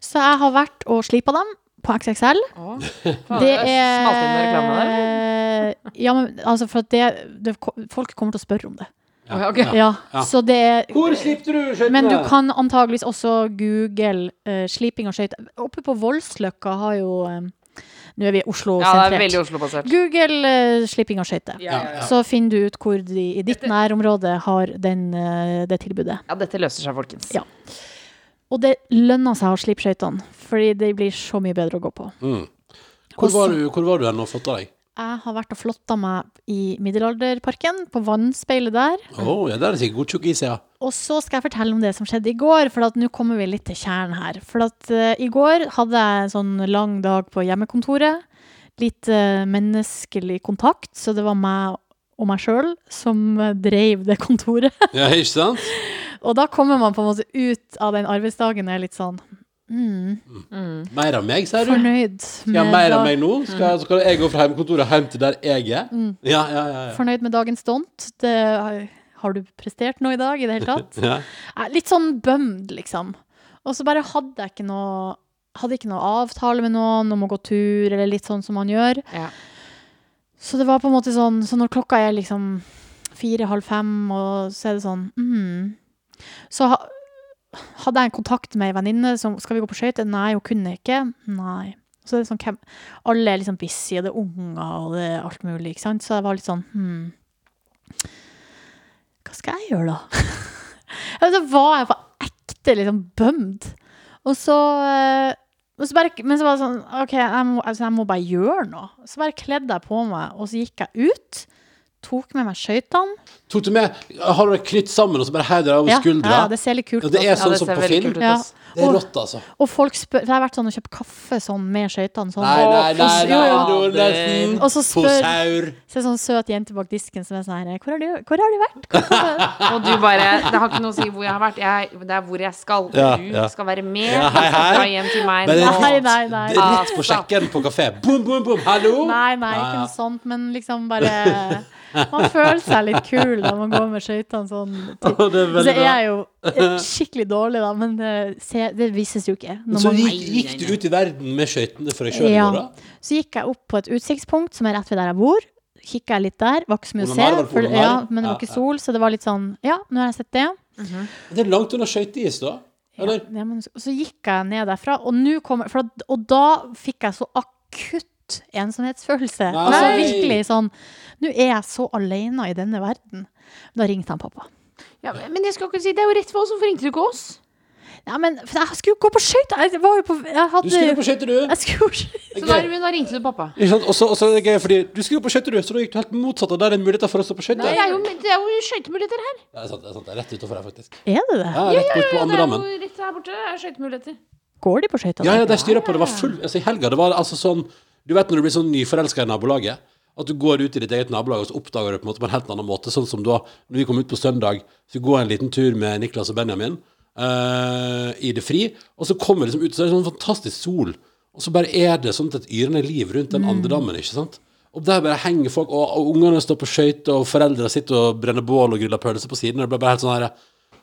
[SPEAKER 5] Så jeg har vært og slipa dem på XXL.
[SPEAKER 4] Å, faen,
[SPEAKER 5] Det
[SPEAKER 4] jeg smalt inn med reklame der.
[SPEAKER 5] er *laughs* Ja, men altså, for at det, det Folk kommer til å spørre om det.
[SPEAKER 4] Å, ok.
[SPEAKER 5] Ja.
[SPEAKER 3] Ja.
[SPEAKER 5] Så det er
[SPEAKER 3] Hvor slipte du skøytene?
[SPEAKER 5] men du kan antageligvis også google eh, sliping av skøyter. Oppe på Voldsløkka har jo eh, Nå er vi
[SPEAKER 4] Ja, det er
[SPEAKER 5] Oslo-sentrert.
[SPEAKER 4] veldig Oslo-basert.
[SPEAKER 5] Google eh, slipping av skøyter.
[SPEAKER 4] Ja, ja, ja.
[SPEAKER 5] Så finner du ut hvor de i ditt nærområde har den, eh, det tilbudet.
[SPEAKER 4] ja, dette løser seg, folkens.
[SPEAKER 5] Ja. Og det lønner seg å slippe skøytene, fordi de blir så mye bedre å gå på.
[SPEAKER 3] Mm. Hvor, var du, hvor var du hen og flotta deg?
[SPEAKER 5] Jeg har vært og flotta meg i Middelalderparken, på vannspeilet der.
[SPEAKER 3] Å, ja, der er det sikkert god tjukk is, ja.
[SPEAKER 5] Og så skal jeg fortelle om det som skjedde i går, for at nå kommer vi litt til kjernen her. For at eh, i går hadde jeg en sånn lang dag på hjemmekontoret. Litt eh, menneskelig kontakt, så det var meg og meg sjøl som eh, dreiv det kontoret.
[SPEAKER 3] ja. Ikke sant?
[SPEAKER 5] Og da kommer man på en måte ut av den arbeidsdagen og er litt sånn mm,
[SPEAKER 3] Mer av meg, sier du?
[SPEAKER 5] fornøyd,
[SPEAKER 3] Skal jeg ha mer
[SPEAKER 5] dag-
[SPEAKER 3] av meg nå? Skal, skal jeg gå fra hjemmekontoret hjem til der jeg er?
[SPEAKER 5] Mm.
[SPEAKER 3] Ja, ja, ja. ja.
[SPEAKER 5] fornøyd med dagens stunt. Det, har du prestert noe i dag i
[SPEAKER 3] *laughs*
[SPEAKER 5] det hele tatt?
[SPEAKER 3] ja.
[SPEAKER 5] Nei, Litt sånn bømd, liksom. Og så bare hadde jeg ikke noe hadde ikke noe avtale med noen om å gå tur, eller litt sånn som man gjør.
[SPEAKER 4] Ja.
[SPEAKER 5] Så det var på en måte sånn Så når klokka er liksom fire-halv fem, og så er det sånn mm, Så ha, hadde jeg en kontakt med ei venninne som Skal vi gå på skøyter? Nei, hun kunne ikke. Nei. Så er det sånn hvem Alle er liksom busy, og det er unger, og det er alt mulig, ikke sant? Så jeg var litt sånn hmm, Hva skal jeg gjøre, da? *laughs* Ja, så var jeg på ekte liksom bømd. Og så, eh, og så bare, Men så var det sånn OK, jeg må, altså, jeg må bare gjøre noe. Så bare kledde jeg på meg, og så gikk jeg ut. Tok med meg skøytene.
[SPEAKER 3] Tok du med Har du det knytt sammen og så bare heiv deg over
[SPEAKER 5] Ja,
[SPEAKER 3] skuldra?
[SPEAKER 5] ja, det ser litt kult
[SPEAKER 3] Ja,
[SPEAKER 5] ut.
[SPEAKER 3] det er
[SPEAKER 5] altså.
[SPEAKER 3] sånn
[SPEAKER 4] det
[SPEAKER 3] som
[SPEAKER 4] ser
[SPEAKER 3] på
[SPEAKER 4] veldig
[SPEAKER 3] film.
[SPEAKER 4] kult ut,
[SPEAKER 5] Ja.
[SPEAKER 4] ass.
[SPEAKER 3] Det er
[SPEAKER 5] Og,
[SPEAKER 3] rått, altså.
[SPEAKER 5] og folk spør For jeg har vært sånn og kjøpt kaffe sånn med skøytene. Sånn.
[SPEAKER 3] Nei, nei, nei, nei,
[SPEAKER 4] jo, jo.
[SPEAKER 3] Nordnesen.
[SPEAKER 5] Og så spør-
[SPEAKER 3] Posaur.
[SPEAKER 5] Så er det sånn søt jente bak disken som er sånn her Hvor har du, hvor har du vært? Hvor
[SPEAKER 3] *laughs*
[SPEAKER 5] har du vært?»
[SPEAKER 4] Og du bare Det har ikke noe å si hvor jeg har vært. Jeg, det er hvor jeg skal.
[SPEAKER 3] Ja,
[SPEAKER 4] du
[SPEAKER 3] ja.
[SPEAKER 4] skal være med.
[SPEAKER 3] Ja, hei,
[SPEAKER 4] Du skal
[SPEAKER 3] hei.
[SPEAKER 4] Dra hjem til meg
[SPEAKER 3] Bare
[SPEAKER 4] nå.
[SPEAKER 5] Nei, nei, nei. Ah,
[SPEAKER 3] Det er Rett på sjekken på kafé. Boom, boom, boom. Hallo!
[SPEAKER 5] Nei, nei, ikke noe sånt, men liksom bare Man føler seg litt kul da man går med skøytene sånn. til-
[SPEAKER 3] Det er
[SPEAKER 5] Så
[SPEAKER 3] veldig
[SPEAKER 5] er
[SPEAKER 3] bra.
[SPEAKER 5] jeg jo skikkelig dårlig, da, men det, se, det vises jo ikke. Når
[SPEAKER 3] Så
[SPEAKER 5] man,
[SPEAKER 3] gikk, gikk du ut i verden med skøytene for deg sjøl i
[SPEAKER 5] Ja.
[SPEAKER 3] morgen?
[SPEAKER 5] så gikk jeg opp på et utsiktspunkt som er rett ved der jeg bor. Kikka jeg litt der, var ikke så mye å
[SPEAKER 3] Ole
[SPEAKER 5] se,
[SPEAKER 3] Mar var det på
[SPEAKER 5] for,
[SPEAKER 3] Ole Mar?
[SPEAKER 5] ja, men det var
[SPEAKER 3] Ja,
[SPEAKER 5] ikke sol, så det var litt sånn Ja, nå har jeg sett det.
[SPEAKER 3] Det er langt unna skøyteis, da. Eller?
[SPEAKER 5] Ja, men, og så gikk jeg ned derfra, og, nå kom, jeg- for, at- og da fikk jeg så akutt ensomhetsfølelse.
[SPEAKER 3] Nei.
[SPEAKER 5] Altså virkelig sånn Nå er jeg så alene i denne verden. Da ringte han pappa.
[SPEAKER 4] Ja, men- men jeg skal ikke si, det er jo rett for oss. Hvorfor ringte du ikke oss?
[SPEAKER 5] Ja, men for jeg skulle gå på skøyter! Jeg var jo på Jeg hadde
[SPEAKER 3] Du skulle på skøyter, du.
[SPEAKER 5] Jeg skulle på skøyter.
[SPEAKER 4] Så
[SPEAKER 3] Gøy.
[SPEAKER 4] da, men da ringte du pappa.
[SPEAKER 3] Ikke sant? Og så- og så er det gøy, fordi du skulle jo på skøyter, du, så da gikk du helt motsatt av der det er muligheter for å stå på skøyter.
[SPEAKER 4] Det er jo, det er jo skøytemuligheter her.
[SPEAKER 3] Ja, det er sant, det er sant. Det er rett utenfor her, faktisk.
[SPEAKER 5] Er det det?
[SPEAKER 3] Ja, rett bort på
[SPEAKER 4] Det
[SPEAKER 3] andre
[SPEAKER 4] er
[SPEAKER 3] dammen.
[SPEAKER 4] jo rett her borte. Det er skøytemuligheter.
[SPEAKER 5] Går de på skøyter?
[SPEAKER 3] Ja,
[SPEAKER 5] da?
[SPEAKER 3] ja, de styrer på. Det var full altså, I helga det var altså sånn Du vet når du blir sånn nyforelska i nabolaget? At du går ut i ditt eget nabolag og så oppdager du det på en måte på en helt annen måte. Sånn som da når vi kom ut på søndag, så går jeg en liten tur med Niklas og Benjamin eh, i det fri, og så kommer vi liksom ut, så er det sånn fantastisk sol, og så bare er det sånn et yrende liv rundt den
[SPEAKER 4] Mm.
[SPEAKER 3] andre dammen, ikke sant? Og der bare henger folk, og, og ungene står på skøyter, og foreldre sitter og brenner bål og griller pølser på siden, og det blir bare helt sånn her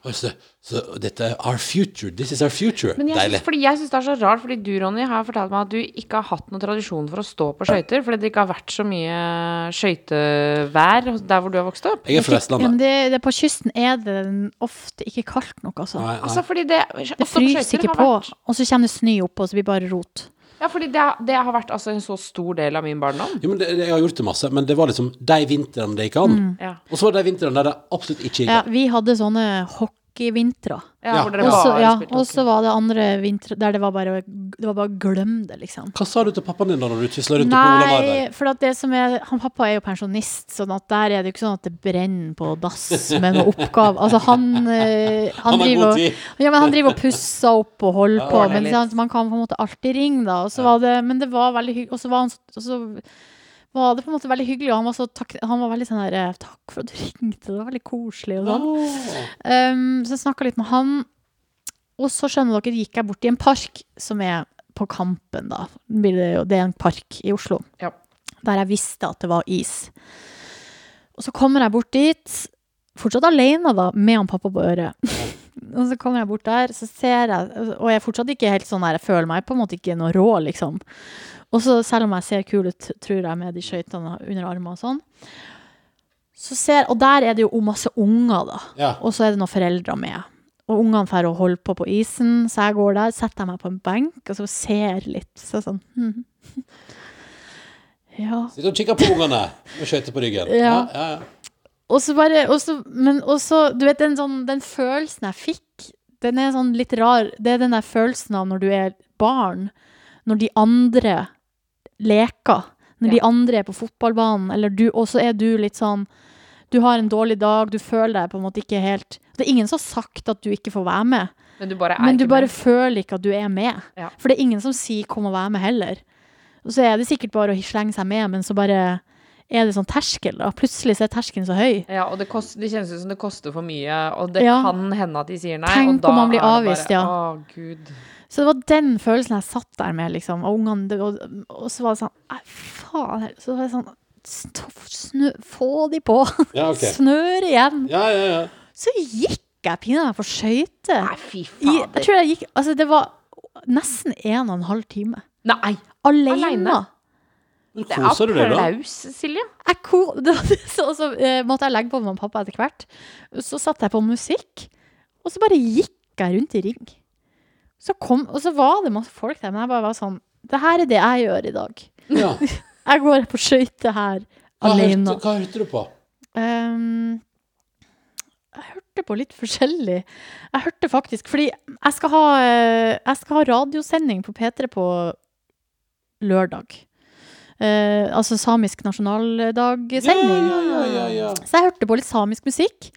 [SPEAKER 3] «Oi, så, så dette er our future. This is our future.
[SPEAKER 4] Men jeg
[SPEAKER 3] Deilig.
[SPEAKER 4] synes, fordi jeg synes det er så rart, fordi du, Ronny, har fortalt meg at du ikke har hatt noen tradisjon for å stå på skøyter, fordi det ikke har vært så mye skøytevær hos- der hvor du har vokst opp.
[SPEAKER 3] Jeg er fra Vestlandet.
[SPEAKER 5] Ja, men det, det, på kysten er det ofte ikke kaldt nok, altså.
[SPEAKER 3] Nei, nei.
[SPEAKER 4] Altså, fordi det
[SPEAKER 5] Det fryser ikke på,
[SPEAKER 4] Vært,
[SPEAKER 5] og så kommer det snø oppå, og så blir det bare rot.
[SPEAKER 4] ja, fordi det, det har vært altså, en så stor del av min barndom.
[SPEAKER 3] Jo, men det, det- jeg har gjort det masse, men det var liksom de vintrene det gikk an.
[SPEAKER 4] Ja.
[SPEAKER 3] Og så var det de vintrene der det absolutt ikke gikk
[SPEAKER 5] Mm. Ja,
[SPEAKER 3] an.
[SPEAKER 5] vi hadde sånne hockeyvintre.
[SPEAKER 4] Ja,
[SPEAKER 3] Ja.
[SPEAKER 4] Hvor dere
[SPEAKER 5] Og så
[SPEAKER 4] bare
[SPEAKER 5] ja,
[SPEAKER 4] spilte
[SPEAKER 5] og
[SPEAKER 4] hockey.
[SPEAKER 5] så var det andre vintre der det var bare Det var bare glem det, liksom.
[SPEAKER 3] Hva sa du til pappaen din da når du tusla rundt oppe på Olav Arberg?
[SPEAKER 5] Nei, for at det som er Han pappa er jo pensjonist, sånn at der er det jo ikke sånn at det brenner på dass med noe oppgave. Altså, han
[SPEAKER 3] *laughs*
[SPEAKER 5] eh,
[SPEAKER 3] Han
[SPEAKER 5] Han
[SPEAKER 3] har
[SPEAKER 5] driver
[SPEAKER 3] god
[SPEAKER 5] og
[SPEAKER 3] tid.
[SPEAKER 5] Ja, men han driver og pusser opp og holder på,
[SPEAKER 4] ordner
[SPEAKER 5] men
[SPEAKER 4] litt.
[SPEAKER 5] sant, man kan på en måte alltid ringe, da. Og så var det, men det var veldig hyggelig. Og så var han så- og så var det på en måte veldig hyggelig, og han var, så takk, han var veldig sånn der Takk for at du ringte, det var veldig koselig og sånn.
[SPEAKER 3] Åh.
[SPEAKER 5] Um, så jeg snakka litt med han, og så skjønner dere, gikk jeg bort i en park som er på Kampen, da. Blir Det jo- det er en park i Oslo
[SPEAKER 4] Ja.
[SPEAKER 5] der jeg visste at det var is. Og så kommer jeg bort dit, fortsatt alene da, med han pappa på øret. *laughs* og så kommer jeg bort der, så ser jeg, og jeg er fortsatt ikke helt sånn der, jeg føler meg på en måte ikke noe rå, liksom. Og så selv om jeg ser kul ut, tror jeg, med de skøytene under armene og sånn, så ser, og der er det jo masse unger da,
[SPEAKER 3] Ja.
[SPEAKER 5] og så er det noen foreldre med. Og ungene får å holde på på isen, så jeg går der, setter jeg meg på en benk, og så ser litt. Så sånn, hm. *laughs* Ja.
[SPEAKER 3] Sitter og kikker på ungene med skøyter på ryggen.
[SPEAKER 5] Ja.
[SPEAKER 3] Ja, ja.
[SPEAKER 5] Og så bare, og så- men også, du vet, den, sånn, den følelsen jeg fikk, den er sånn litt rar. Det er den der følelsen av når du er barn, når de andre leker, når de
[SPEAKER 4] Ja.
[SPEAKER 5] andre er på fotballbanen, eller du, og så er du litt sånn, du har en dårlig dag, du føler deg på en måte ikke helt, det er ingen som har sagt at du ikke får være med,
[SPEAKER 4] Men du bare er
[SPEAKER 5] men du
[SPEAKER 4] ikke
[SPEAKER 5] bare
[SPEAKER 4] med.
[SPEAKER 5] føler ikke at du er med.
[SPEAKER 4] Ja.
[SPEAKER 5] For det er ingen som sier 'kom og vær med' heller. Og så er det sikkert bare å slenge seg med, men så bare er det sånn terskel, da. Plutselig så er terskelen så høy.
[SPEAKER 4] Ja, og det, kost, det kjennes ut som det koster for mye, og det
[SPEAKER 5] Ja.
[SPEAKER 4] kan hende at de sier nei.
[SPEAKER 5] Tenk
[SPEAKER 4] og da
[SPEAKER 5] om man blir
[SPEAKER 4] er det
[SPEAKER 5] avvist,
[SPEAKER 4] bare,
[SPEAKER 5] ja.
[SPEAKER 4] Å, Gud.
[SPEAKER 5] Så det var den følelsen jeg satt der med, liksom. Og ungene det- og, og så var det sånn Nei, faen. Så var det sånn «Stoff, snø, Få de på!
[SPEAKER 3] Ja, ok.
[SPEAKER 5] *laughs* Snør igjen!
[SPEAKER 3] ja, ja, ja.
[SPEAKER 5] Så gikk jeg pinadø meg for skøyter.
[SPEAKER 4] Nei, fy
[SPEAKER 5] I- Jeg
[SPEAKER 4] fader.
[SPEAKER 5] tror jeg gikk Altså, det var nesten en og en halv time.
[SPEAKER 4] Nei,
[SPEAKER 5] Alene.
[SPEAKER 4] Alene?
[SPEAKER 3] Men
[SPEAKER 4] det
[SPEAKER 3] koser du
[SPEAKER 4] er
[SPEAKER 3] deg, da?
[SPEAKER 4] applaus, Silje.
[SPEAKER 5] jeg ko- *laughs* det var det- så, så eh, måtte jeg legge på med pappa etter hvert. Så satte jeg på musikk, og så bare gikk jeg rundt i ring. Så kom, og så var det masse folk der, men jeg bare var sånn Det her er det jeg gjør i dag. *laughs*
[SPEAKER 3] Ja.
[SPEAKER 5] Jeg går på skøyter her
[SPEAKER 3] Hva,
[SPEAKER 5] alene.
[SPEAKER 3] hørte, hva hørte du på?
[SPEAKER 5] Ehm, jeg hørte på litt forskjellig. Jeg hørte faktisk Fordi jeg skal ha, eh, jeg skal ha radiosending på P3 på lørdag. Eh, altså samisk nasjonaldagsending.
[SPEAKER 3] Ja, ja, ja, ja, ja.
[SPEAKER 5] Så jeg hørte på litt samisk musikk.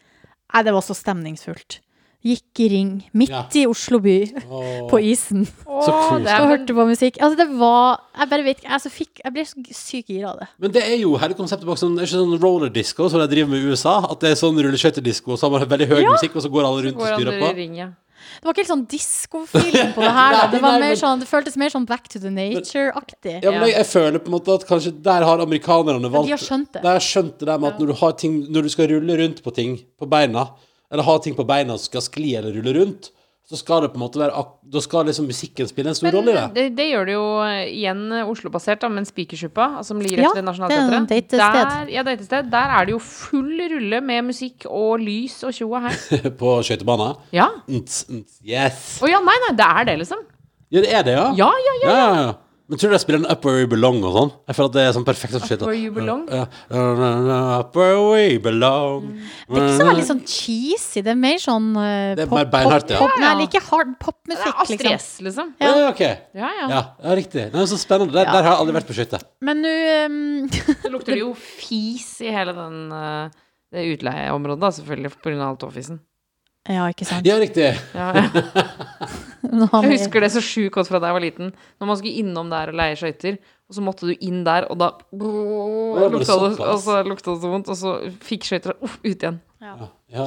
[SPEAKER 5] Nei, det var så stemningsfullt. Gikk i ring, midt
[SPEAKER 3] Ja.
[SPEAKER 5] i Oslo by,
[SPEAKER 3] Åh.
[SPEAKER 5] på isen,
[SPEAKER 4] Å,
[SPEAKER 3] koselig.
[SPEAKER 4] det er-
[SPEAKER 5] og hørte på musikk. Altså, det var Jeg bare vet ikke Jeg, så fikk, jeg ble så sykt gira av det.
[SPEAKER 3] Men det er jo hele konseptet bak sånn, det er ikke sånn rollerdisco som de driver med i USA. At det er sånn rulleskøytedisco, og så har man veldig høy musikk, og så går alle rundt og
[SPEAKER 4] Går
[SPEAKER 3] styrer
[SPEAKER 4] andre i
[SPEAKER 3] på.
[SPEAKER 4] ring, ja.
[SPEAKER 5] Det var ikke helt sånn diskofilm på det her. Da. Det,
[SPEAKER 3] *laughs* Nei,
[SPEAKER 5] var
[SPEAKER 3] nei,
[SPEAKER 5] mer
[SPEAKER 3] men-
[SPEAKER 5] sånn, det føltes mer sånn Back to the Nature-aktig.
[SPEAKER 3] Ja, men jeg, jeg føler på en måte at kanskje der har amerikanerne valgt
[SPEAKER 5] De har skjønt det.
[SPEAKER 3] Der har jeg skjønt det der med at når du, har ting, når du skal rulle rundt på ting på beina, eller ha ting på beina som skal skli eller rulle rundt, så skal det på en måte være ak Da skal liksom musikken spille en stor
[SPEAKER 4] Men
[SPEAKER 3] rolle i det.
[SPEAKER 4] det, det gjør det jo eh, igjen eh, Oslo-basert, da, men Spikersuppa, altså, som ligger
[SPEAKER 5] Ja,
[SPEAKER 4] etter
[SPEAKER 5] det er
[SPEAKER 4] Nationaltheatret.
[SPEAKER 5] en datested.
[SPEAKER 4] Der, ja, datested. Der er det jo full rulle med musikk og lys og tjo og hei.
[SPEAKER 3] *laughs* På skøytebanen.
[SPEAKER 4] Ja.
[SPEAKER 3] Nts, nts, Yes.
[SPEAKER 4] Å ja, nei, nei, det er det, liksom.
[SPEAKER 3] Ja, det er det, ja.
[SPEAKER 4] Ja, ja, ja.
[SPEAKER 3] ja, ja. Men tror du de spiller en Up Where We Belong og sånn? Jeg føler at det er sånn perfekt avskjed.
[SPEAKER 4] Where you belong.
[SPEAKER 3] Ja, ja, ja, ja, Up Where We Belong.
[SPEAKER 5] Det er ikke så veldig sånn cheesy. Det er mer sånn uh,
[SPEAKER 3] Det er mer beinhardt, ja.
[SPEAKER 5] pop,
[SPEAKER 4] Ja,
[SPEAKER 5] nei,
[SPEAKER 4] ja.
[SPEAKER 5] like hard
[SPEAKER 4] Det er
[SPEAKER 5] popmusikk,
[SPEAKER 4] Astrid
[SPEAKER 5] liksom.
[SPEAKER 4] S, liksom.
[SPEAKER 3] Ja, ja, ok.
[SPEAKER 4] Ja, ja.
[SPEAKER 3] Ja, ja riktig. Nei, så spennende. Der, der har jeg aldri vært på skøyter.
[SPEAKER 5] Men nå um,
[SPEAKER 4] Det lukter jo fis i hele den, eh, det utleieområdet, da, selvfølgelig, pga. all tåfisen.
[SPEAKER 5] *laughs* Ja, ikke sant.
[SPEAKER 3] Ja, riktig.
[SPEAKER 4] Ja,
[SPEAKER 3] *laughs*
[SPEAKER 4] ja.
[SPEAKER 5] Jeg
[SPEAKER 4] Jeg husker det så sjukt godt fra da jeg var liten. Når man skulle innom der og leie skøyter, og så måtte du inn der, og da
[SPEAKER 3] det
[SPEAKER 4] lukta det,
[SPEAKER 3] såpass.
[SPEAKER 4] og så lukta det så vondt, og så fikk skøyter uff, ut igjen.
[SPEAKER 3] Ja.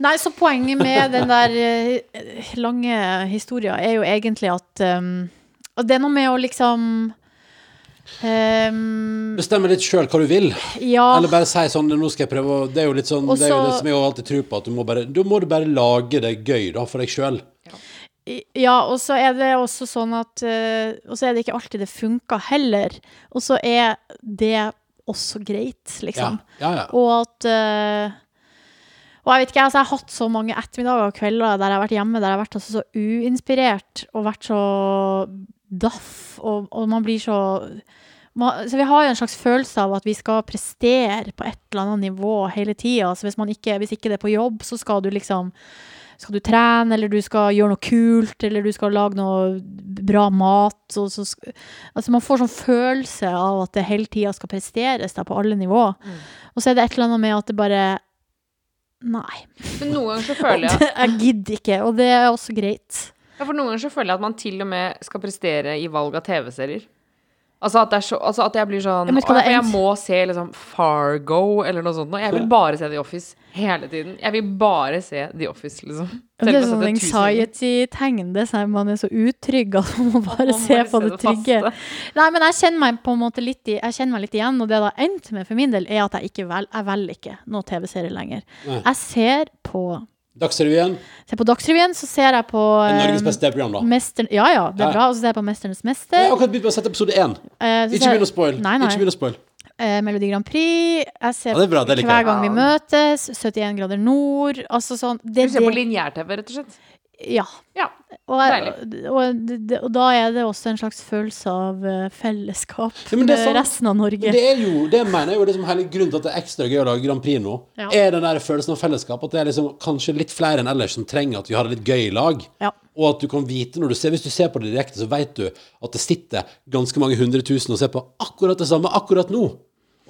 [SPEAKER 5] Nei, så poenget med den der eh, lange historia er jo egentlig at um, Og det er noe med å liksom um,
[SPEAKER 3] Bestemme litt sjøl hva du vil.
[SPEAKER 5] Ja.
[SPEAKER 3] Eller bare si sånn Nå skal jeg prøve å Det er jo litt sånn Det er jo
[SPEAKER 5] Også-
[SPEAKER 3] det som jeg jo alltid tror på, at du må bare Da må du bare lage det gøy, da, for deg sjøl.
[SPEAKER 5] I- Ja, og så er det også sånn at eh, Og så er det ikke alltid det funker heller. Og så er det også greit,
[SPEAKER 3] Ja.
[SPEAKER 5] liksom.
[SPEAKER 3] ja, ja.
[SPEAKER 5] Og at eh, Og jeg vet ikke, altså, jeg har hatt så mange ettermiddager og kvelder der jeg har vært hjemme, der jeg har vært altså, så uinspirert og vært så daff, og, og man blir så man, så Vi har jo en slags følelse av at vi skal prestere på et eller annet nivå hele tida. Så hvis, man ikke, hvis ikke det er på jobb, så skal du liksom skal du trene, eller du skal gjøre noe kult, eller du skal lage noe bra mat. Og så, sk- altså man får sånn følelse av at det hele tida skal presteres der på alle nivå. Og så er det et eller annet med at det bare Nei.
[SPEAKER 4] Men noen ganger så føler jeg
[SPEAKER 5] *laughs* Jeg gidder ikke, og det er også greit.
[SPEAKER 4] Ja, for noen ganger så føler jeg at man til og med skal prestere i valg av TV-serier. Altså at, det er så, altså at jeg blir sånn
[SPEAKER 5] Ja, men skal
[SPEAKER 4] «Å,
[SPEAKER 5] det
[SPEAKER 4] jeg
[SPEAKER 5] ends?»
[SPEAKER 4] må se liksom Fargo eller noe sånt. nå. Jeg vil bare se The Office hele tiden. Jeg vil bare se The Office, liksom. Selv om
[SPEAKER 5] Det
[SPEAKER 4] jeg
[SPEAKER 5] er
[SPEAKER 4] har sett
[SPEAKER 5] sånn
[SPEAKER 4] det tusen ganger.
[SPEAKER 5] anxiety-tegn. Det er sånn Man er så utrygg at man må
[SPEAKER 4] Man
[SPEAKER 5] bare
[SPEAKER 4] må
[SPEAKER 5] se på det trygge.
[SPEAKER 4] faste.
[SPEAKER 5] Nei, men jeg kjenner meg på en måte litt, i, jeg kjenner meg litt igjen, og det det har endt med for min del, er at jeg ikke vel, jeg velger ikke noen TV-serie lenger.
[SPEAKER 3] Nei.
[SPEAKER 5] Jeg ser på
[SPEAKER 3] Dagsrevyen.
[SPEAKER 5] ser på Dagsrevyen, så ser jeg på
[SPEAKER 3] er Norges
[SPEAKER 5] eh,
[SPEAKER 3] beste program, da.
[SPEAKER 5] Mester, ja, ja, det
[SPEAKER 3] Ja.
[SPEAKER 5] er bra. Og så ser jeg på 'Mesternes
[SPEAKER 3] Jeg har
[SPEAKER 5] mester'.
[SPEAKER 3] akkurat begynt å sette episode én.
[SPEAKER 5] eh, så
[SPEAKER 3] Ikke
[SPEAKER 5] ser-
[SPEAKER 3] begynn å spoil.
[SPEAKER 5] Nei, nei.
[SPEAKER 3] Ikke begynn å spoil.
[SPEAKER 5] eh, Melodi Grand Prix. Jeg ser
[SPEAKER 3] Ja, det er bra, det liker
[SPEAKER 5] Hver
[SPEAKER 3] jeg.
[SPEAKER 5] gang vi
[SPEAKER 4] Ja.
[SPEAKER 5] møtes. 71 grader nord. Altså sånn det,
[SPEAKER 4] Du ser på
[SPEAKER 5] det-
[SPEAKER 4] lineær-TV, rett og slett.
[SPEAKER 5] Ja.
[SPEAKER 4] Ja.
[SPEAKER 5] Og,
[SPEAKER 4] Deilig.
[SPEAKER 5] og, det- og da er det også en slags følelse av eh, fellesskap
[SPEAKER 3] Ja, men
[SPEAKER 5] med
[SPEAKER 3] det er sant.
[SPEAKER 5] resten av Norge.
[SPEAKER 3] Men det er jo Det mener jeg jo er liksom hele grunnen til at det er ekstra gøy å lage Grand Prix nå.
[SPEAKER 5] Ja.
[SPEAKER 3] Er den der følelsen av fellesskap. At det er liksom kanskje litt flere enn ellers som trenger at vi har det litt gøy i lag.
[SPEAKER 5] Ja.
[SPEAKER 3] Og at du kan vite når du ser Hvis du ser på det direkte, så vet du at det sitter ganske mange hundre tusen og ser på akkurat det samme akkurat nå.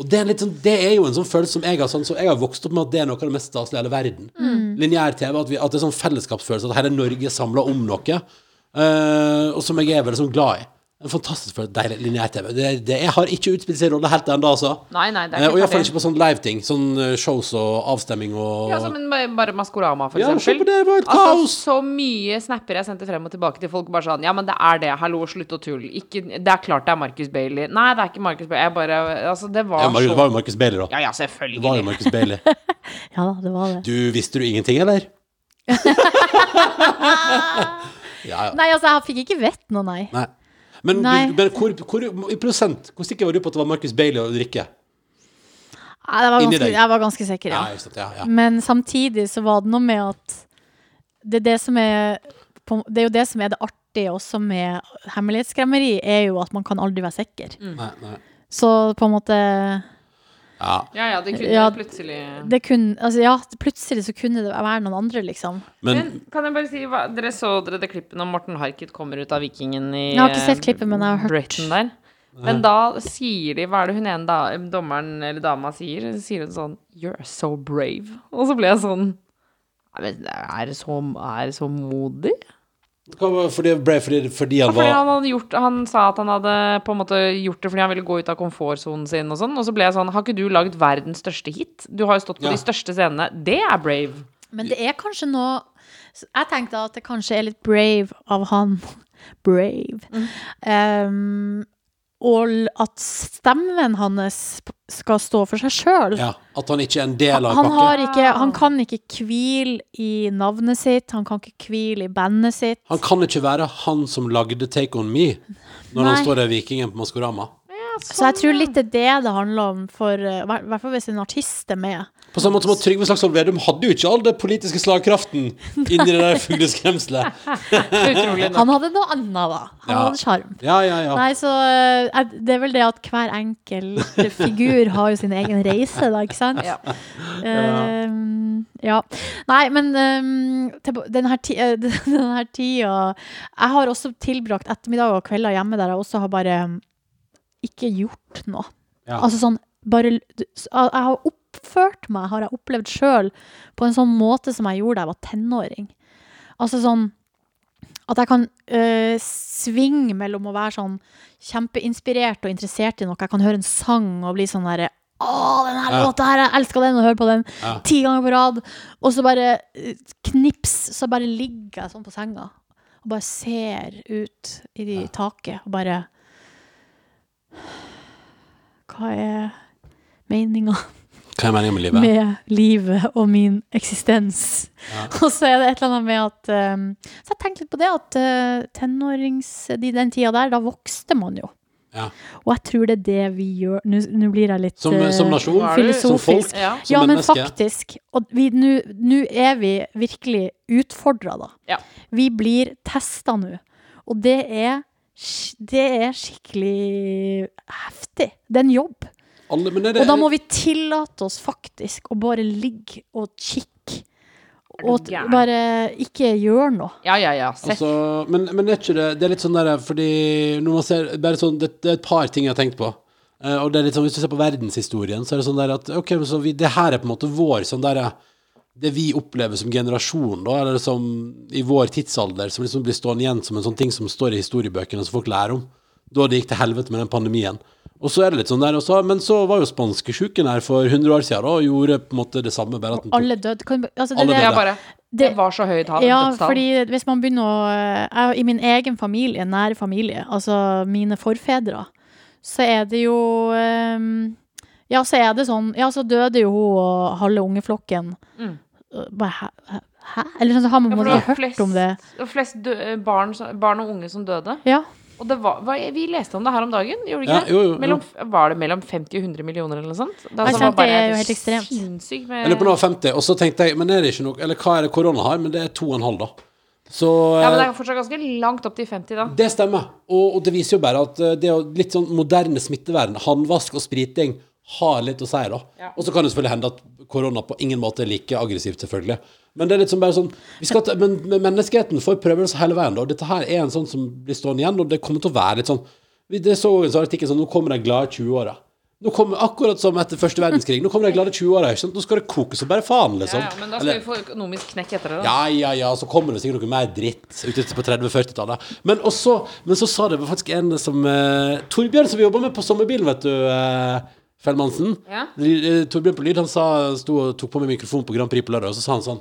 [SPEAKER 3] Og det er, en litt sånn, det er jo en sånn følelse som jeg har, sånn, som jeg har vokst opp med at det er noe av det mest staselige i hele verden.
[SPEAKER 4] Mm.
[SPEAKER 3] Lineær-TV. At, vi- at det er sånn fellesskapsfølelse. At hele Norge er samla om noe. eh, og som jeg er veldig sånn glad i. En fantastisk følelse. Deilig lineær-TV. Det, det, jeg har ikke utspilt sin rolle helt ennå, altså.
[SPEAKER 4] Nei, nei, det er
[SPEAKER 3] Eh,
[SPEAKER 4] ikke
[SPEAKER 3] og iallfall
[SPEAKER 4] ferdig.
[SPEAKER 3] ikke på sånn live-ting. Sånn eh, shows og avstemming og
[SPEAKER 4] Ja, altså, men bare- bare Maskorama, for
[SPEAKER 3] Ja, se
[SPEAKER 4] eksempel.
[SPEAKER 3] på det, det var et
[SPEAKER 4] altså,
[SPEAKER 3] kaos.
[SPEAKER 4] så mye snapper jeg sendte frem og tilbake til folk, bare sånn Ja, men det er det. Hallo, slutt å tulle. Ikke, det er klart det er Marcus Bailey. Nei, det er ikke Marcus Bailey. Jeg bare Altså, det var
[SPEAKER 3] Ja, Marcus-
[SPEAKER 4] så
[SPEAKER 3] det var jo Marcus Bailey, da.
[SPEAKER 4] Ja, ja,
[SPEAKER 3] Det var jo
[SPEAKER 4] selvfølgelig.
[SPEAKER 3] Marcus Bailey.
[SPEAKER 5] Ja da, det var det.
[SPEAKER 3] Du, visste du ingenting,
[SPEAKER 4] *laughs*
[SPEAKER 3] eller? ja, ja.
[SPEAKER 5] Nei, altså, jeg fikk ikke vett noe, nei.
[SPEAKER 3] Nei. Men, du-
[SPEAKER 5] Nei.
[SPEAKER 3] men hvor, hvor, i prosent, hvor sikker var du på at det var Marcus Bailey å drikke?
[SPEAKER 5] nei det var
[SPEAKER 3] Inni
[SPEAKER 5] ganske,
[SPEAKER 3] deg.
[SPEAKER 5] jeg var ganske sikker,
[SPEAKER 3] Ja,
[SPEAKER 5] ja.
[SPEAKER 3] just det, ja, ja.
[SPEAKER 5] Men samtidig så var det noe med at det er det som er på- Det er jo det som er det artige også med hemmelighetskremmeri, er jo at man kan aldri være sikker.
[SPEAKER 3] Nei, nei.
[SPEAKER 5] Så på en måte
[SPEAKER 3] Ja.
[SPEAKER 4] Ja, ja, det kunne
[SPEAKER 5] Ja,
[SPEAKER 4] plutselig
[SPEAKER 5] det kunne, altså, Ja, plutselig så kunne det være noen andre, liksom.
[SPEAKER 3] Men
[SPEAKER 4] Men kan jeg bare si, hva, dere så dere det klippet når Morten Harket kommer ut av Vikingen i
[SPEAKER 5] Jeg har ikke sett
[SPEAKER 4] eh,
[SPEAKER 5] klippet, men jeg har hørt.
[SPEAKER 4] Britain der. Men da sier de Hva er det hun ene da, dommeren eller dama sier? Sier hun sånn You're so brave. Og så ble jeg sånn «Nei, men Er det så, er det så modig?
[SPEAKER 3] hva var- fordi, ble, fordi, fordi han
[SPEAKER 4] Fordi
[SPEAKER 3] var
[SPEAKER 4] han, hadde gjort, han sa at han hadde på en måte gjort det fordi han ville gå ut av komfortsonen sin og sånn. Og så ble jeg sånn Har ikke du laget verdens største hit? Du har jo stått på
[SPEAKER 3] Ja.
[SPEAKER 4] de største scenene. Det er brave.
[SPEAKER 5] Men det er kanskje noe så Jeg tenkte at *laughs*
[SPEAKER 3] Mm.
[SPEAKER 5] det kanskje er litt brave av han. Brave. Um, og l- at stemmen hans p- skal stå for seg sjøl.
[SPEAKER 3] Ja, at han ikke er en del av
[SPEAKER 5] Han,
[SPEAKER 3] pakka.
[SPEAKER 5] har ikke, han kan ikke hvile i navnet sitt, han kan ikke hvile i bandet sitt.
[SPEAKER 3] Han kan ikke være han som lagde Take On Me, når
[SPEAKER 5] Nei.
[SPEAKER 3] han står der vikingen på Maskorama.
[SPEAKER 5] Så jeg tror litt det er det det handler om, for, eh, hver- i hvert fall hvis en artist er med.
[SPEAKER 3] På samme måte som at Trygve Slagsvold Vedum hadde jo ikke all den politiske slagkraften
[SPEAKER 5] *laughs*
[SPEAKER 3] inni det der fugleskremselet.
[SPEAKER 4] Utrolig nok.
[SPEAKER 5] Han hadde noe annet, da. Han
[SPEAKER 3] Ja.
[SPEAKER 5] hadde sjarm.
[SPEAKER 3] Ja, ja, ja.
[SPEAKER 5] Nei, så eh, jeg- Det er vel det at hver enkelt figur har jo sin egen reise, da, ikke sant?
[SPEAKER 4] Ja.
[SPEAKER 5] Ehm, ja. Nei, men ehm, tilba- den her, ti eh, *laughs* den her tida Jeg har også tilbrakt ettermiddager og kvelder hjemme der jeg også har bare mm, ikke gjort noe.
[SPEAKER 3] Ja.
[SPEAKER 5] Altså sånn bare l- du- s- Jeg har oppført meg, har jeg opplevd sjøl, på en sånn måte som jeg gjorde da jeg var tenåring. Altså sånn at jeg kan øh, svinge mellom å være sånn kjempeinspirert og interessert i noe. Jeg kan høre en sang og bli sånn derre Å, den her
[SPEAKER 3] Ja.
[SPEAKER 5] låta her, jeg elsker den, og høre på den
[SPEAKER 3] Ja.
[SPEAKER 5] ti ganger på rad. Og så bare øh, knips, så bare ligger jeg sånn på senga og bare ser ut i de taket og bare Hva er meninga
[SPEAKER 3] Hva er meningen med livet?
[SPEAKER 5] med livet og min eksistens. *laughs* Og så er det et eller annet med at um, Så jeg tenkte litt på det at uh, tenårings... I den tida der, da vokste man jo.
[SPEAKER 3] Ja.
[SPEAKER 5] Og jeg tror det er det vi gjør Nå nå blir jeg litt
[SPEAKER 3] Som, eh,
[SPEAKER 5] uh,
[SPEAKER 3] som nasjon?
[SPEAKER 4] Hva er det?
[SPEAKER 3] Som folk?
[SPEAKER 5] filosofisk.
[SPEAKER 4] Ja.
[SPEAKER 3] Som
[SPEAKER 5] ja, men
[SPEAKER 3] menneske?
[SPEAKER 5] faktisk. Og vi- nå nå er vi virkelig utfordra, da.
[SPEAKER 4] Ja.
[SPEAKER 5] Vi blir testa nå. Og det er, sk- det er skikkelig heftig. Det er en jobb.
[SPEAKER 3] Alle, men er det,
[SPEAKER 5] Og da må vi tillate oss faktisk å bare ligge og kikke.
[SPEAKER 4] du
[SPEAKER 5] Og t-
[SPEAKER 4] gæren?
[SPEAKER 5] bare ikke gjøre noe.
[SPEAKER 4] Ja, ja, ja. Sett.
[SPEAKER 3] Altså, men, men er ikke det Det er litt sånn der Fordi når man ser bare sånn, det, det er et par ting jeg har tenkt på. Eh, og det er litt sånn, Hvis du ser på verdenshistorien, så er det sånn der at Ok, men så vi, det her er på en måte vår sånn der, Det vi opplever som generasjon, da, eller som i vår tidsalder, som liksom blir stående igjen som en sånn ting som står i historiebøkene, som folk lærer om. Da det gikk til helvete med den pandemien. Og så er det litt sånn der også, Men så var jo spanskesjuken her for 100 år siden da, og gjorde på en måte det samme. bare at den tok-
[SPEAKER 5] Alle døde. Kan, altså, det,
[SPEAKER 3] Alle
[SPEAKER 4] Det
[SPEAKER 5] er det,
[SPEAKER 4] er bare Det var så høyt tall.
[SPEAKER 5] ja,
[SPEAKER 4] dødstall.
[SPEAKER 5] fordi hvis man begynner å eh, jeg, I min egen familie, nære familie, altså mine forfedre, så er det jo ehm, Ja, så er det sånn Ja, så døde jo hun og halve ungeflokken.
[SPEAKER 4] Mm.
[SPEAKER 5] Bare hæ? hæ? Eller sånn, så har man
[SPEAKER 4] Ja,
[SPEAKER 5] på
[SPEAKER 4] for det
[SPEAKER 5] en måte
[SPEAKER 4] var
[SPEAKER 5] hørt om det.
[SPEAKER 4] flest- det var flest dø barn, som- barn og unge som døde.
[SPEAKER 5] Ja.
[SPEAKER 4] Og det var, var, vi leste om det her om dagen, gjorde vi ikke
[SPEAKER 3] Ja,
[SPEAKER 4] det?
[SPEAKER 3] jo, jo, jo.
[SPEAKER 4] Mellom, var det mellom 50 og 100 millioner eller noe sånt? altså Da,
[SPEAKER 5] Jeg
[SPEAKER 4] så
[SPEAKER 5] kjente
[SPEAKER 4] var
[SPEAKER 5] det er jo
[SPEAKER 4] helt
[SPEAKER 5] helt ekstremt.
[SPEAKER 4] sinnssykt med-
[SPEAKER 3] Jeg lurer på nå 50, og så tenkte jeg Men er det ikke noe Eller hva er det korona har? Men det er 2,5, da. Så
[SPEAKER 4] Ja, men det
[SPEAKER 3] eh,
[SPEAKER 4] er fortsatt ganske langt opp til 50 da.
[SPEAKER 3] det stemmer. Og, og det viser jo bare at eh, det er jo litt sånn moderne smittevern, håndvask og spriting, har litt å si, da. Og så kan det selvfølgelig hende at korona på ingen måte er like aggressivt, selvfølgelig. Men det er litt sånn bare sånn vi skal ta, men, men menneskeheten får prøve oss hele veien, da. Dette her er en sånn som blir stående igjen, og det kommer til å være litt sånn vi- Det så også en sånn artikkel sånn Nå kommer de glade 20-åra. Nå kommer, akkurat som etter første verdenskrig. Nå kommer de glade 20-åra. ikke sant? Nå skal det koke så bare faen,
[SPEAKER 4] Ja,
[SPEAKER 3] liksom.
[SPEAKER 4] ja, men da skal
[SPEAKER 3] Eller-
[SPEAKER 4] vi få økonomisk knekk etter det da.
[SPEAKER 3] ja, ja, ja, så kommer det sikkert noe mer dritt ute på 30-40-tallet. Men, også- men så sa det var faktisk en som eh, Torbjørn, som vi jobba med på sommerbilen, vet du, eh, Fellmannsen.
[SPEAKER 4] Ja.
[SPEAKER 3] Ly- eh, Torbjørn på Lyd han sa, sto, og tok på meg mikrofonen på Grand Prix på lørdag, og så sa han sånn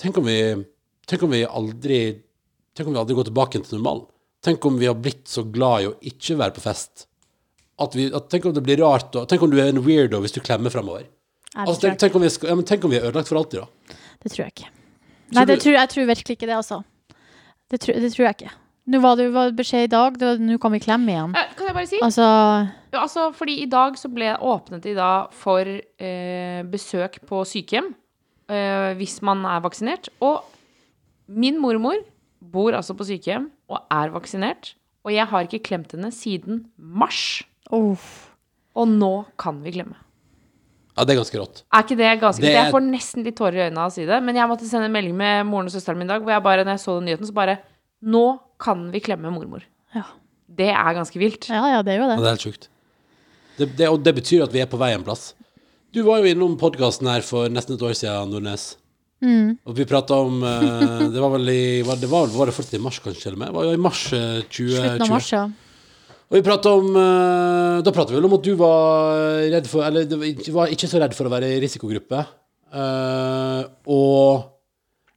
[SPEAKER 3] Tenk om vi, tenk om vi aldri Tenk om vi aldri går tilbake igjen til normalen. Tenk om vi har blitt så glad i å ikke være på fest. At vi, at, tenk om det blir rart, og, tenk om du er en weirdo hvis du klemmer framover.
[SPEAKER 5] Nei, det
[SPEAKER 3] Altså,
[SPEAKER 5] tror jeg
[SPEAKER 3] tenk, tenk, om vi skal- ja, men tenk om vi er ødelagt for alltid, da.
[SPEAKER 5] Det tror jeg ikke. Nei, det
[SPEAKER 3] du-
[SPEAKER 5] tror, jeg tror virkelig ikke det, altså. Det, tror- det tror jeg ikke. Nå var det jo var beskjed i dag, det var- nå kan vi klemme igjen.
[SPEAKER 4] Eh, Kan jeg bare si?
[SPEAKER 5] Altså,
[SPEAKER 4] Ja, Altså, fordi i dag så ble åpnet de da for eh, besøk på sykehjem eh, hvis man er vaksinert. Og min mormor bor altså på sykehjem og er vaksinert. Og jeg har ikke klemt henne siden mars.
[SPEAKER 5] uff.
[SPEAKER 4] Og nå kan vi glemme.
[SPEAKER 3] Ja, det er ganske rått.
[SPEAKER 4] Er ikke det ganske
[SPEAKER 3] Det er-
[SPEAKER 4] Jeg får nesten litt tårer i øynene av å si det. Men jeg måtte sende en melding med moren og søsteren min i dag hvor jeg bare, når jeg så den nyheten, så bare Nå kan vi klemme mormor.
[SPEAKER 5] Ja.
[SPEAKER 4] Det er ganske vilt.
[SPEAKER 5] ja, ja, det er jo
[SPEAKER 3] Ja,
[SPEAKER 5] det.
[SPEAKER 3] det er helt sjukt. Det, det, og det betyr at vi er på vei en plass. Du var jo innom podkasten her for nesten et år siden, Nordnes.
[SPEAKER 5] Mm.
[SPEAKER 3] Og vi prata om eh, Det var vel i var det, var, var det fortsatt i mars, kanskje? Eller med? Det var jo i mars eh, 2020.
[SPEAKER 5] Slutten av mars, ja.
[SPEAKER 3] Og vi pratet om eh, Da pratet vi vel om at du var redd for Eller du var ikke så redd for å være i risikogruppe. Eh, og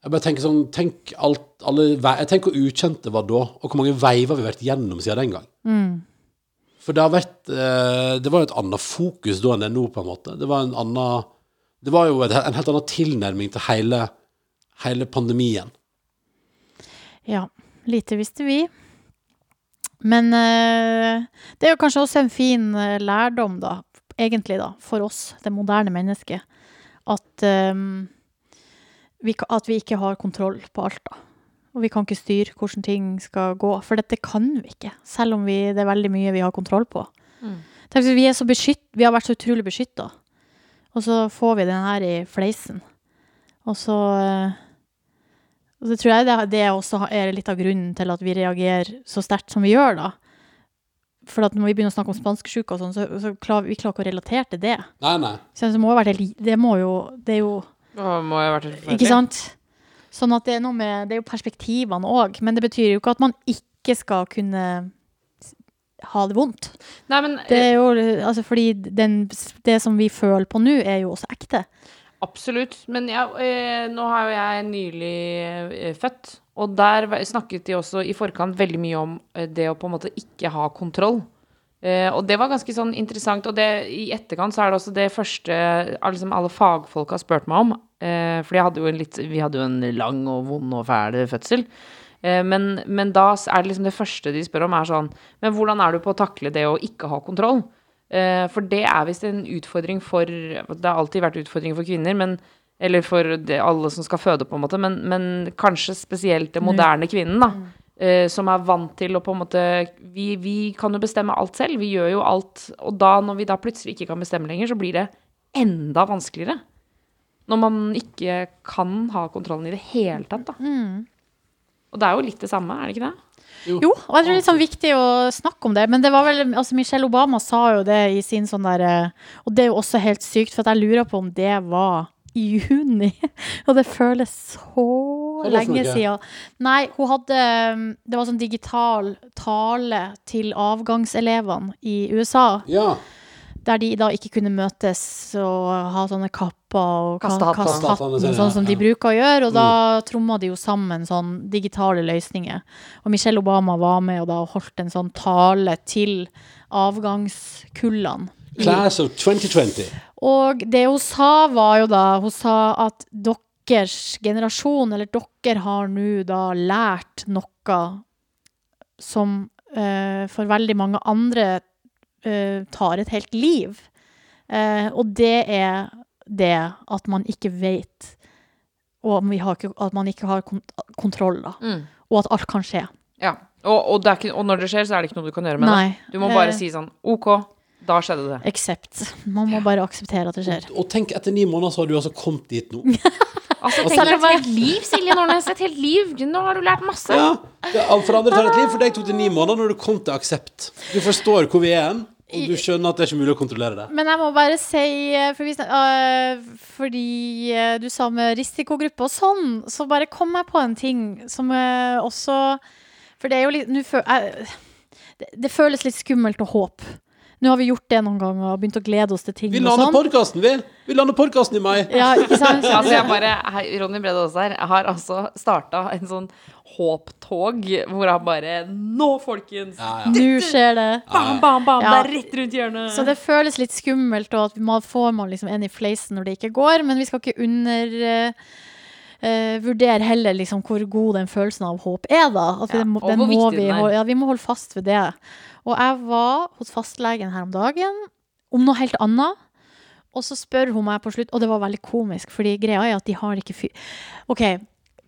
[SPEAKER 3] jeg bare tenker sånn Tenk alt alle, ve- Jeg tenker hvor ukjent det var da, og hvor mange veiver vi har vært gjennom siden den gang. For det har vært eh, Det var jo et annet fokus da enn det er nå, på en måte. Det var en annen Det var jo et, en helt annen tilnærming til hele, hele pandemien.
[SPEAKER 5] Ja, lite visste vi. Men eh, det er jo kanskje også en fin eh, lærdom, da, egentlig, da, for oss, det moderne mennesket, at, eh, vi, ka- at vi ikke har kontroll på alt, da. Og vi kan ikke styre hvordan ting skal gå, for dette kan vi ikke, selv om vi, det er veldig mye vi har kontroll på.
[SPEAKER 4] Mm.
[SPEAKER 5] Tenk hvis vi, er så beskytt, vi har vært så utrolig beskytta, og så får vi den her i fleisen. Og så eh, og det tror jeg det, det også er litt av grunnen til at vi reagerer så sterkt som vi gjør, da. For at når vi begynner å snakke om spanskesjuke og sånn, så, så klarer vi klarer ikke å relatere til det.
[SPEAKER 3] Nei, nei.
[SPEAKER 5] Så det må jo være det, li- det må jo Det er jo
[SPEAKER 4] Å, må jo ha vært helt
[SPEAKER 5] Ikke
[SPEAKER 4] forferdelig.
[SPEAKER 5] sant? Sånn at det er noe med Det er jo perspektivene òg. Men det betyr jo ikke at man ikke skal kunne s- ha det vondt.
[SPEAKER 4] Nei, men
[SPEAKER 5] Det er jo Altså, fordi den, det som vi føler på nå, er jo også ekte.
[SPEAKER 4] Absolutt. Men ja, eh, nå har jo jeg nylig eh, født, og der v- snakket de også i forkant veldig mye om eh, det å på en måte ikke ha kontroll. Eh, og det var ganske sånn interessant. Og det, i etterkant så er det også det første eh, liksom alle fagfolk har spurt meg om. Eh, for jeg hadde jo en litt, vi hadde jo en lang og vond og fæl fødsel. Eh, men, men da s- er det liksom det første de spør om, er sånn Men hvordan er du på å takle det å ikke ha kontroll? Eh, For det er visst en utfordring for Det har alltid vært utfordring for kvinner, men eller for det, alle som skal føde, på en måte, men, men kanskje spesielt den moderne kvinnen, da. eh, Som er vant til å på en måte vi, vi kan jo bestemme alt selv, vi gjør jo alt. Og da, når vi da plutselig ikke kan bestemme lenger, så blir det enda vanskeligere. Når man ikke kan ha kontrollen i det hele tatt, da. Og det er jo litt det samme, er det ikke det?
[SPEAKER 5] Jo, og jeg tror det er litt sånn viktig å snakke om det. Men det var vel, altså Michelle Obama sa jo det i sin sånn der eh, Og det er jo også helt sykt, for at jeg lurer på om det var i juni. *laughs* Og det føles så
[SPEAKER 3] Hva var det for
[SPEAKER 5] lenge
[SPEAKER 3] noe?
[SPEAKER 5] siden. Nei, hun hadde um, Det var sånn digital tale til avgangselevene i USA.
[SPEAKER 3] Ja.
[SPEAKER 5] Der de da ikke kunne møtes og ha sånne kapper og
[SPEAKER 4] Kaste hatten.
[SPEAKER 5] kaste
[SPEAKER 3] Kaste hatten,
[SPEAKER 5] hatten,
[SPEAKER 3] ja,
[SPEAKER 5] sånn som Mm. de
[SPEAKER 3] ja.
[SPEAKER 5] bruker å gjøre. Og da tromma de jo sammen sånn digitale løsninger. Og Michelle Obama var med og da holdt en sånn tale til avgangskullene. i-
[SPEAKER 3] Class of 2020.
[SPEAKER 5] og det hun sa var jo da, hun sa at deres generasjon, eller dere har nå da lært noe som eh, for veldig mange andre eh, tar et helt liv. Eh, og det er det at man ikke vet, og om vi har ikke, at man ikke har kont kontroll da, og at alt kan skje.
[SPEAKER 4] Ja. Og, og, det er ikke, og når det skjer, så er det ikke noe du kan gjøre med
[SPEAKER 5] Nei.
[SPEAKER 4] det. Du må bare
[SPEAKER 5] Eh.
[SPEAKER 4] si sånn OK, da skjedde det.
[SPEAKER 5] Accept. Man må bare akseptere at det skjer.
[SPEAKER 3] Og tenk, etter ni måneder så har du altså kommet dit nå.
[SPEAKER 4] Altså,
[SPEAKER 5] selv
[SPEAKER 4] tenk deg
[SPEAKER 5] om
[SPEAKER 4] et helt liv, Silje Nordnes. Et helt liv. Nå har du lært masse.
[SPEAKER 3] Ja, det, For andre tar et liv, for deg tok det ni måneder når du kom til aksept. Du forstår hvor vi er hen, og du skjønner at det er ikke mulig å kontrollere det.
[SPEAKER 5] Men jeg må bare si eh, for vi snak, øh, Fordi eh, du sa med risikogruppe og sånn, så bare kom jeg på en ting som eh, også For det er jo litt nå fø- jeg- det, det føles litt skummelt å håpe. Nå har vi gjort det noen ganger og begynt å glede oss til ting.
[SPEAKER 3] Vi
[SPEAKER 5] og
[SPEAKER 3] lander
[SPEAKER 5] sånn.
[SPEAKER 3] podkasten, vi! Vi lander podkasten i mai!
[SPEAKER 5] Ja, ikke sant?
[SPEAKER 4] Altså, jeg bare, hei, Ronny Brede Aase her. Jeg har altså starta en sånn håptog hvor han bare Nå, folkens!
[SPEAKER 3] Ja, ja.
[SPEAKER 5] Nå skjer det.
[SPEAKER 4] Bam, bam, bam!
[SPEAKER 5] Ja.
[SPEAKER 4] Det er rett rundt hjørnet.
[SPEAKER 5] Så det føles litt skummelt, og at man får man liksom en i fleisen når det ikke går, men vi skal ikke under... eh, eh, vurdere heller liksom hvor god den følelsen av håp er, da. At vi,
[SPEAKER 4] Ja,
[SPEAKER 5] den, må-
[SPEAKER 4] og
[SPEAKER 5] den
[SPEAKER 4] hvor
[SPEAKER 5] må
[SPEAKER 4] viktig
[SPEAKER 5] vi,
[SPEAKER 4] den er.
[SPEAKER 5] holde, ja, vi må holde fast ved det. Og jeg var hos fastlegen her om dagen om noe helt annet. Og så spør hun meg på slutt, og det var veldig komisk, fordi greia er at de har ikke fyr... OK,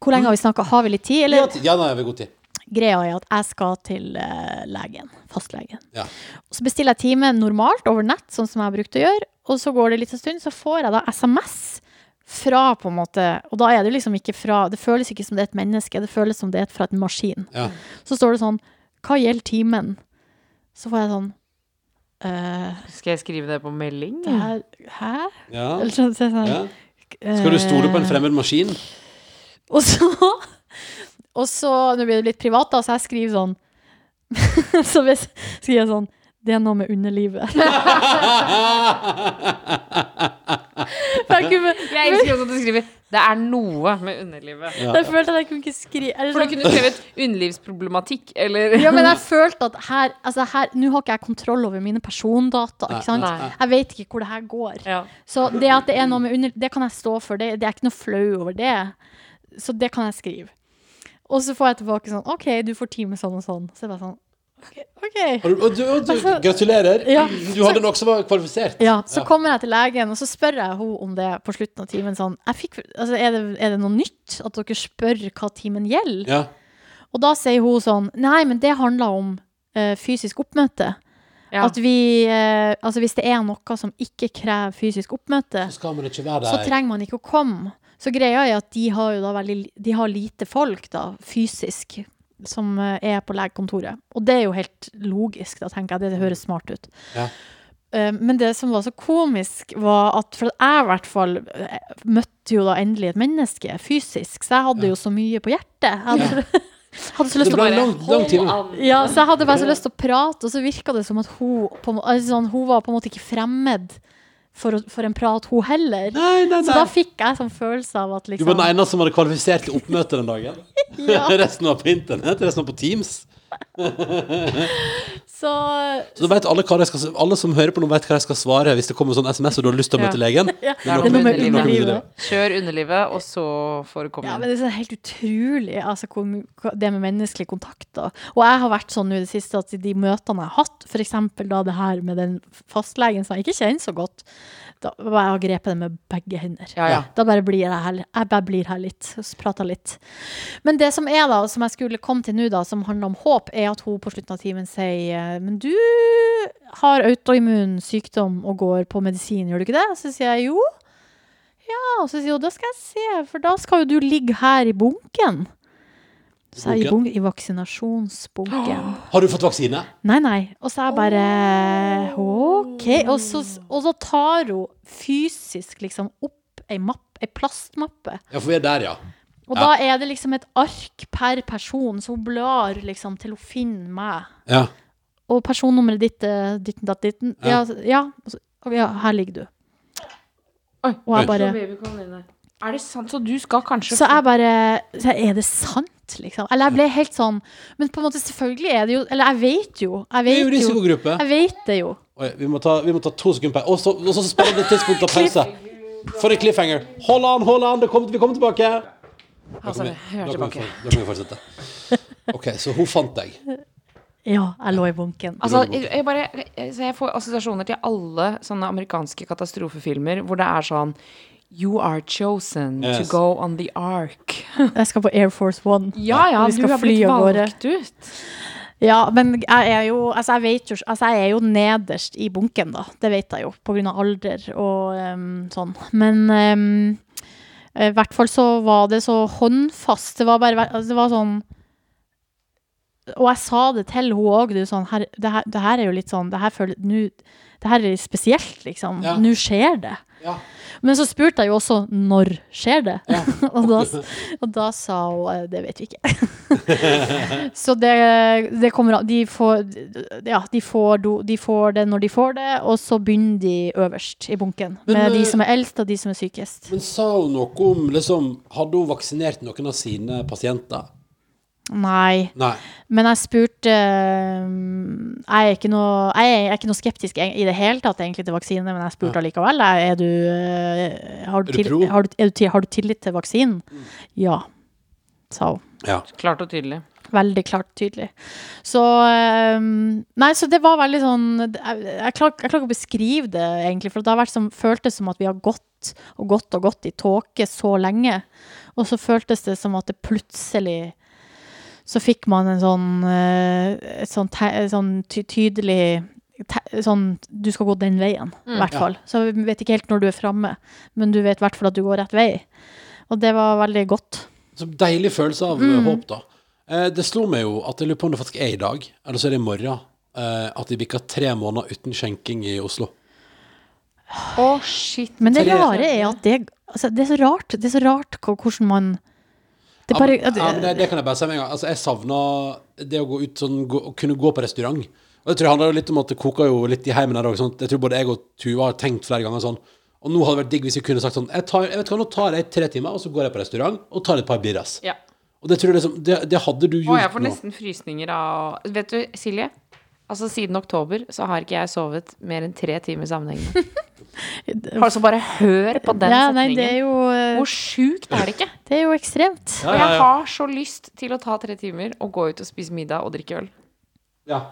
[SPEAKER 5] hvor lenge har vi snakka? Har vi litt tid,
[SPEAKER 3] Ja,
[SPEAKER 5] eller?
[SPEAKER 3] ja, nei, vi har god tid.
[SPEAKER 5] Greia er at jeg skal til eh, legen, fastlegen.
[SPEAKER 3] Ja.
[SPEAKER 5] Og så bestiller jeg time normalt over nett, sånn som jeg har brukt å gjøre. Og så går det litt en stund, så får jeg da SMS fra på en måte Og da er det liksom ikke fra Det føles ikke som det er et menneske, det føles som det er fra en maskin.
[SPEAKER 3] Ja.
[SPEAKER 5] Så står det sånn Hva gjelder timen? Så får jeg sånn «Eh,
[SPEAKER 4] Skal jeg skrive det på melding?
[SPEAKER 5] det her, Hæ?
[SPEAKER 3] Ja.
[SPEAKER 5] Eller sånn, så er det sånn
[SPEAKER 3] Mm. Ja. Skal du stole på en
[SPEAKER 5] «Eh,
[SPEAKER 3] fremmed maskin?
[SPEAKER 5] Og så, og så Nå blir det litt privat, da, så jeg skriver sånn *laughs* Så hvis, skriver jeg sånn Det er noe med underlivet.
[SPEAKER 3] ja,
[SPEAKER 5] For jeg kunne-
[SPEAKER 4] Jeg elsker også at du skriver Det er noe med underlivet.
[SPEAKER 3] Ja.
[SPEAKER 5] Jeg følte at jeg kunne ikke skrive eller
[SPEAKER 4] For
[SPEAKER 5] sånn-
[SPEAKER 4] du kunne skrevet underlivsproblematikk, eller
[SPEAKER 5] Ja, men jeg følte at her Altså, her Nå har ikke jeg kontroll over mine persondata, ikke sant?
[SPEAKER 4] Nei.
[SPEAKER 5] Jeg vet ikke hvor det her går.
[SPEAKER 4] Ja.
[SPEAKER 5] Så det at det er noe med under... Det kan jeg stå for. Det, det er ikke noe flau over det. Så det kan jeg skrive. Og så får jeg tilbake sånn OK, du får time sånn og sånn. Så jeg bare sånn OK. ok.
[SPEAKER 3] Og du, og du, og du, gratulerer.
[SPEAKER 5] Altså, Ja.
[SPEAKER 3] Du hadde nok som var kvalifisert.
[SPEAKER 5] Ja, så kommer jeg til legen, og så spør jeg henne om det på slutten av timen. Sånn, jeg fikk, altså, er, det, er det noe nytt at dere spør hva timen gjelder?
[SPEAKER 3] Ja.
[SPEAKER 5] Og da sier hun sånn Nei, men det handler om eh, fysisk oppmøte.
[SPEAKER 4] Ja.
[SPEAKER 5] At vi, eh, altså hvis det er noe som ikke krever fysisk oppmøte,
[SPEAKER 3] Så skal man ikke være
[SPEAKER 5] så
[SPEAKER 3] der.
[SPEAKER 5] trenger man ikke å komme. Så greia er at de har jo da veldig De har lite folk, da, fysisk, som eh, er på legekontoret. Og det er jo helt logisk, da, tenker jeg. Det høres smart ut.
[SPEAKER 3] Ja.
[SPEAKER 5] Eh, Men det som var så komisk, var at For at jeg i hvert fall eh, møtte jo da endelig et menneske fysisk, så jeg hadde jo så mye på hjertet. Jeg hadde, hadde så *laughs* lyst
[SPEAKER 3] Det
[SPEAKER 5] til å
[SPEAKER 3] ble
[SPEAKER 5] bare
[SPEAKER 3] en lang, lang time.
[SPEAKER 5] ja, så jeg hadde bare så lyst til å prate, og så virka det som at hun, på, en må- altså, sånn, hun var på en måte ikke fremmed for, å- for en prat, hun heller.
[SPEAKER 3] Nei, nei,
[SPEAKER 5] Så
[SPEAKER 3] nei.
[SPEAKER 5] da fikk jeg sånn følelse av at
[SPEAKER 3] Du var
[SPEAKER 5] liksom
[SPEAKER 3] den eneste som hadde kvalifisert til oppmøte den dagen.
[SPEAKER 5] *laughs* Ja.
[SPEAKER 3] *laughs* resten var på internett, resten var på Teams.
[SPEAKER 5] Så
[SPEAKER 3] Så da vet alle, hva de skal, alle som hører på nå, vet hva de skal svare hvis det kommer sånn SMS og du har lyst til å møte legen. Det
[SPEAKER 4] er
[SPEAKER 5] det er noe med
[SPEAKER 4] Underlivet.
[SPEAKER 5] underlivet.
[SPEAKER 4] Kjør underlivet, og så får du komme
[SPEAKER 5] Ja,
[SPEAKER 4] inn.
[SPEAKER 5] men det er sånn helt utrolig, altså, hvor, mu- hva- det med menneskelige kontakter. Og jeg har vært sånn nå i det siste at i de møtene jeg har hatt, f.eks. da det her med den fastlegen som jeg ikke kjenner så godt, da var jeg og grepet det med begge hender.
[SPEAKER 4] Ja, ja.
[SPEAKER 5] Da bare blir jeg her, jeg bare blir her litt, og så prater litt. Men det som er da, som jeg skulle komme til nå da, som handler om håp, er at hun på slutten av timen sier eh, Men du har autoimmun sykdom og går på medisin, gjør du ikke det? Så sier jeg jo. Ja, og så sier hun da skal jeg se, for da skal jo du ligge her i bunken. Så jeg, i,
[SPEAKER 3] Bunken?
[SPEAKER 5] bunk, I vaksinasjonsbunken.
[SPEAKER 3] Har du fått vaksine?
[SPEAKER 5] Nei, nei. Og så er jeg bare OK. Og så, og så tar hun fysisk liksom opp ei mapp, ei plastmappe.
[SPEAKER 3] Ja, for vi er der, ja.
[SPEAKER 5] Og
[SPEAKER 3] Ja.
[SPEAKER 5] da er det liksom et ark per person, så hun blar liksom til hun finner meg.
[SPEAKER 3] ja.
[SPEAKER 5] Og personnummeret ditt eh, ditten datt ditten. Ja,
[SPEAKER 3] Ja.
[SPEAKER 5] så- ja, og så- og ja her ligger du.
[SPEAKER 4] Oi.
[SPEAKER 5] Og jeg bare
[SPEAKER 4] Er det sant? Så du skal kanskje
[SPEAKER 5] Så jeg bare så jeg, Er det sant, liksom? Eller jeg ble helt sånn Men på en måte, selvfølgelig er det jo Eller jeg vet jo. Jeg
[SPEAKER 3] Vi er jo
[SPEAKER 5] vet jo.
[SPEAKER 3] risikogruppe.
[SPEAKER 5] Jeg vet det jo.
[SPEAKER 3] Oi, vi, må ta, vi må ta to sekunder på Og så, og så spiller det tidspunkt av pause. For en cliffhanger. Hold an, hold an, det kom, vi kommer tilbake. Da
[SPEAKER 4] Altså,
[SPEAKER 3] kan vi,
[SPEAKER 4] vi er
[SPEAKER 3] da kan vi,
[SPEAKER 4] tilbake.
[SPEAKER 3] for- da kan vi fortsette. OK, så hun fant deg.
[SPEAKER 5] Ja, jeg lå i bunken.
[SPEAKER 4] Altså, jeg, jeg bare, jeg, så jeg får assosiasjoner til alle sånne amerikanske katastrofefilmer hvor det er sånn You are chosen
[SPEAKER 3] Yes.
[SPEAKER 4] to go on the ark.
[SPEAKER 5] Jeg skal på Air Force One.
[SPEAKER 4] Ja, ja,
[SPEAKER 5] Vi
[SPEAKER 4] du
[SPEAKER 5] skal
[SPEAKER 4] har
[SPEAKER 5] fly
[SPEAKER 4] blitt
[SPEAKER 5] av gårde.
[SPEAKER 4] valgt ut.
[SPEAKER 5] Ja, men jeg er jo Altså, jeg vet jo Altså, jeg er jo nederst i bunken, da. Det vet jeg jo, på grunn av alder og ehm, sånn. Men ehm, i hvert fall så var det så håndfast. Det var bare altså, Det var sånn Og jeg sa det til hun òg, du, sånn her, det, her, det her er jo litt sånn Det her føler nå- Det her er spesielt, liksom.
[SPEAKER 3] Ja.
[SPEAKER 5] Nå skjer det.
[SPEAKER 3] Ja.
[SPEAKER 5] Men så spurte jeg jo også når skjer det? *laughs* og, da, og da sa hun eh, det vet vi ikke. *laughs* så det, det kommer an De får, ja, de får, do, de får det når de får det, og så begynner de øverst i bunken.
[SPEAKER 3] Men,
[SPEAKER 5] med
[SPEAKER 3] eh,
[SPEAKER 5] de som er eldst, og de som er sykest.
[SPEAKER 3] Men sa hun noe om liksom, Hadde hun vaksinert noen av sine pasienter?
[SPEAKER 5] Nei.
[SPEAKER 3] Nei.
[SPEAKER 5] Men jeg spurte um, Jeg er ikke noe, jeg er ikke noe skeptisk eg- i det hele tatt egentlig til vaksine, men jeg spurte allikevel. jeg, Er du, eh, har,
[SPEAKER 3] Er du
[SPEAKER 5] du til,
[SPEAKER 3] pro? Mm.
[SPEAKER 5] har, du, er du, til- har du tillit til vaksinen? Ja, sa hun.
[SPEAKER 3] Ja.
[SPEAKER 4] Klart og tydelig.
[SPEAKER 5] Veldig klart tydelig. Så um, Nei, så det var veldig sånn Jeg, jeg klarer jeg klarer ikke å beskrive det, egentlig. For det har vært som, føltes som at vi har gått og gått og gått i tåke så lenge. Og så føltes det som at det plutselig så fikk man en sånn eh, Et sånn, te, et sånn ty tydelig te, Sånn Du skal gå den veien, i hvert
[SPEAKER 3] Ja.
[SPEAKER 5] fall. Så vi vet ikke helt når du er framme, men du vet i hvert fall at du går rett vei. Og det var veldig godt.
[SPEAKER 3] Så deilig følelse av
[SPEAKER 6] Mm.
[SPEAKER 3] eh, håp, da. Eh, det slo meg jo at jeg lurer på om det faktisk er i dag, eller så er det i morgen, eh, at de bikker tre måneder uten skjenking i Oslo.
[SPEAKER 4] Å, shit.
[SPEAKER 5] Men det
[SPEAKER 3] Tre-
[SPEAKER 5] rare er at det altså, Det er så rart Det er så rart hva- hvordan man Det er bare
[SPEAKER 3] ja, men, ja, men det,
[SPEAKER 5] at,
[SPEAKER 3] det kan jeg bare si med en gang. Altså, jeg savna det å gå ut sånn, gå, å kunne gå på restaurant. Og det tror jeg handler jo litt om at det koker jo litt i heimen her òg. Sånn. at Jeg tror både jeg og Tuva har tenkt flere ganger sånn Og nå hadde det vært digg hvis vi kunne sagt sånn jeg, tar, jeg vet hva, Nå tar jeg tre timer, og så går jeg på restaurant og tar et par birras.
[SPEAKER 6] Ja.
[SPEAKER 3] Og det tror jeg liksom Det, det hadde du
[SPEAKER 6] Å,
[SPEAKER 3] gjort
[SPEAKER 6] jeg får nesten frysninger av Vet du, Silje? Altså Siden oktober så har ikke jeg sovet mer enn tre timer sammenhengende.
[SPEAKER 5] *laughs*
[SPEAKER 6] Altså bare hør på den
[SPEAKER 5] Ja,
[SPEAKER 6] setningen.
[SPEAKER 5] nei, det er jo, eh,
[SPEAKER 6] Hvor sjukt er det ikke?
[SPEAKER 5] det er jo ekstremt.
[SPEAKER 3] Ja, ja,
[SPEAKER 6] Og
[SPEAKER 3] ja.
[SPEAKER 6] jeg har så lyst til å ta tre timer og gå ut og spise middag og drikke øl.
[SPEAKER 3] ja.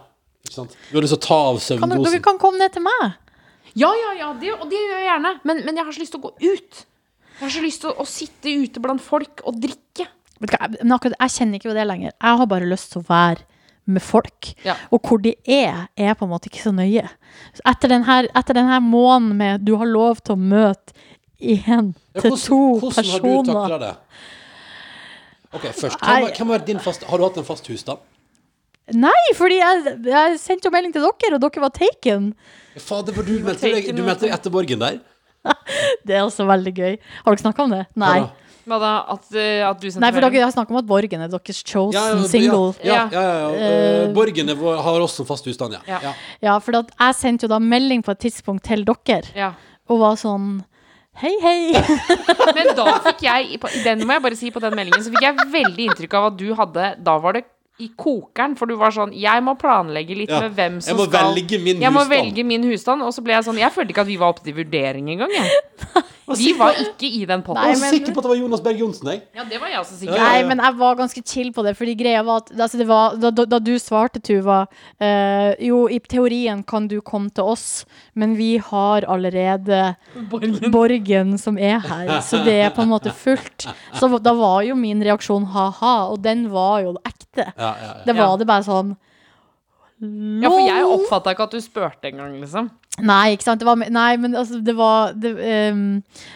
[SPEAKER 3] Ikke sant? Du har lyst til å ta av
[SPEAKER 5] Kan dere, dere
[SPEAKER 3] søvndosen.
[SPEAKER 5] kan komme ned til meg.
[SPEAKER 6] Ja, ja, ja, det, og det gjør jeg gjerne. Men, men jeg har så lyst til å gå ut. Jeg har så lyst til å, å sitte ute blant folk og drikke.
[SPEAKER 5] Vet du hva, jeg- Men akkurat, jeg kjenner ikke på det lenger. Jeg har bare lyst til å være med folk.
[SPEAKER 6] Ja.
[SPEAKER 5] Og hvor de er, er på en måte ikke så nøye. Så Etter den her, etter den her måneden med du har lov til å møte én
[SPEAKER 3] Ja,
[SPEAKER 5] til
[SPEAKER 3] hvordan-
[SPEAKER 5] to
[SPEAKER 3] hvordan har du
[SPEAKER 5] personer
[SPEAKER 3] taklet det? Ok, først
[SPEAKER 5] Nei.
[SPEAKER 3] hvem, har- hvem har vært din fast, Har du hatt en fast husstand?
[SPEAKER 5] Nei, fordi jeg, jeg sendte jo melding til dere, og dere var taken.
[SPEAKER 3] Fader, for du meldte deg, du meldte deg etter Borgen der.
[SPEAKER 5] Det er altså veldig gøy. Har dere snakka om det? Nei.
[SPEAKER 3] Ja,
[SPEAKER 6] Hva da? At, eh, at du sendte
[SPEAKER 5] Nei, for
[SPEAKER 6] melding?
[SPEAKER 5] dere har snakka om at Borgen er deres chosen
[SPEAKER 3] ja, ja,
[SPEAKER 5] single.
[SPEAKER 3] Ja, ja, ja, ja. Eh,
[SPEAKER 5] Eh,
[SPEAKER 3] Borgen er vår- har også en fast husstand, ja.
[SPEAKER 6] Ja.
[SPEAKER 3] ja.
[SPEAKER 5] Ja, for at jeg sendte jo da melding på et tidspunkt til dere,
[SPEAKER 6] Ja.
[SPEAKER 5] og var sånn Hei, hei!
[SPEAKER 6] Men da fikk jeg, i- på- i den må jeg bare si på den meldingen, så fikk jeg veldig inntrykk av at du hadde Da var det i kokeren, for du var sånn Jeg må planlegge litt
[SPEAKER 3] Ja,
[SPEAKER 6] med hvem som
[SPEAKER 3] jeg må
[SPEAKER 6] skal
[SPEAKER 3] velge min
[SPEAKER 6] Jeg må
[SPEAKER 3] husstand.
[SPEAKER 6] velge min husstand. Og så ble jeg sånn Jeg følte ikke at vi var oppe til vurdering engang, jeg. Vi var ikke i den
[SPEAKER 3] Jeg
[SPEAKER 5] *laughs* Nei,
[SPEAKER 6] potten.
[SPEAKER 3] var
[SPEAKER 5] men-
[SPEAKER 3] sikker på at det var Jonas Berg Johnsen, jeg.
[SPEAKER 6] Ja, det var jeg også
[SPEAKER 3] Ja,
[SPEAKER 6] sikker på.
[SPEAKER 3] ja,
[SPEAKER 5] Nei,
[SPEAKER 3] ja.
[SPEAKER 5] men jeg var ganske chill på det, fordi greia var at altså, det var, da, da, da du svarte, Tuva eh, Jo, i teorien kan du komme til oss, men vi har allerede Borgen, som er her, så det er på en måte fullt. Så da var jo min reaksjon ha-ha, og den var jo ekte.
[SPEAKER 3] Ja, ja, ja.
[SPEAKER 5] Det var
[SPEAKER 6] Ja.
[SPEAKER 5] det bare sånn
[SPEAKER 6] Ja, for jeg
[SPEAKER 5] lol.
[SPEAKER 6] oppfatta ikke at du spurte engang, liksom.
[SPEAKER 5] Nei, ikke sant? Det var, me- nei, men altså, det var det, ehm,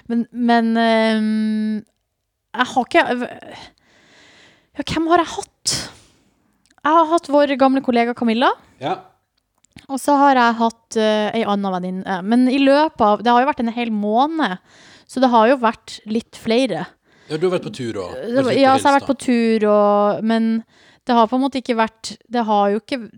[SPEAKER 5] Men, men ehm, Jeg har ikke Ja, hvem har jeg hatt? Jeg har hatt vår gamle kollega Camilla.
[SPEAKER 3] Ja.
[SPEAKER 5] Og så har jeg hatt eh, ei anna venninne. Men i løpet av Det har jo vært en hel måned, så det har jo vært litt flere.
[SPEAKER 3] ja, du har vært på tur og
[SPEAKER 5] Det, var- ja, så jeg har vært på tur og Men det har på en måte ikke vært Det har jo ikke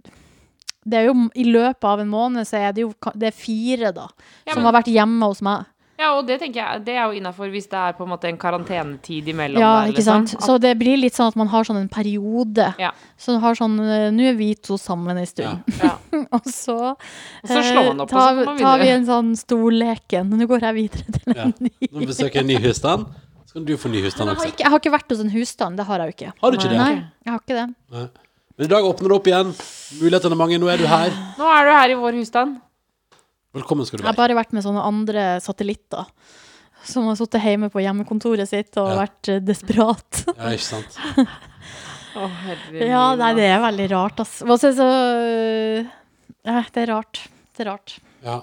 [SPEAKER 5] det er jo, I løpet av en måned så er det jo ka- det er fire da,
[SPEAKER 6] Ja,
[SPEAKER 5] som
[SPEAKER 6] men-
[SPEAKER 5] har vært hjemme hos meg.
[SPEAKER 6] Ja, og det tenker jeg Det er jo innafor hvis det er på en måte en karantenetid imellom.
[SPEAKER 5] Ja,
[SPEAKER 6] der,
[SPEAKER 5] ikke
[SPEAKER 6] liksom.
[SPEAKER 5] sant? Så det blir litt sånn at man har sånn en periode.
[SPEAKER 6] Ja.
[SPEAKER 5] Så man har sånn eh, Nå er vi to sammen en stund.
[SPEAKER 6] At, ja.
[SPEAKER 5] *laughs* Og så,
[SPEAKER 6] Og så slår man
[SPEAKER 5] eh,
[SPEAKER 6] opp, og
[SPEAKER 5] tar,
[SPEAKER 6] så kan man
[SPEAKER 5] tar vi
[SPEAKER 6] videre.
[SPEAKER 5] en sånn storleken. Nå går jeg videre til en ny.
[SPEAKER 3] Nå besøker jeg en ny husstand. Så kan du få ny husstand
[SPEAKER 5] Jeg har,
[SPEAKER 3] også.
[SPEAKER 5] ikke, jeg har ikke vært hos en husstand. Det har jeg jo ikke.
[SPEAKER 3] Har du ikke det?
[SPEAKER 5] Nei, jeg har ikke det.
[SPEAKER 3] Nei. Men i dag åpner det opp igjen. Mulighetene er mange. Nå er du her.
[SPEAKER 6] Nå er du her i vår husstand.
[SPEAKER 3] Velkommen skal du
[SPEAKER 5] Jeg har
[SPEAKER 3] være.
[SPEAKER 5] bare vært med sånne andre satellitter. Som har sittet hjemme på hjemmekontoret sitt og
[SPEAKER 3] Ja.
[SPEAKER 5] vært eh, desperat.
[SPEAKER 3] Ja, ikke sant?
[SPEAKER 6] Å, herre
[SPEAKER 5] *laughs* Ja,
[SPEAKER 6] min,
[SPEAKER 5] nei, det
[SPEAKER 6] ass.
[SPEAKER 5] er veldig rart, altså. Hva synes jeg så eh, Det er rart. Det er rart.
[SPEAKER 3] Ja.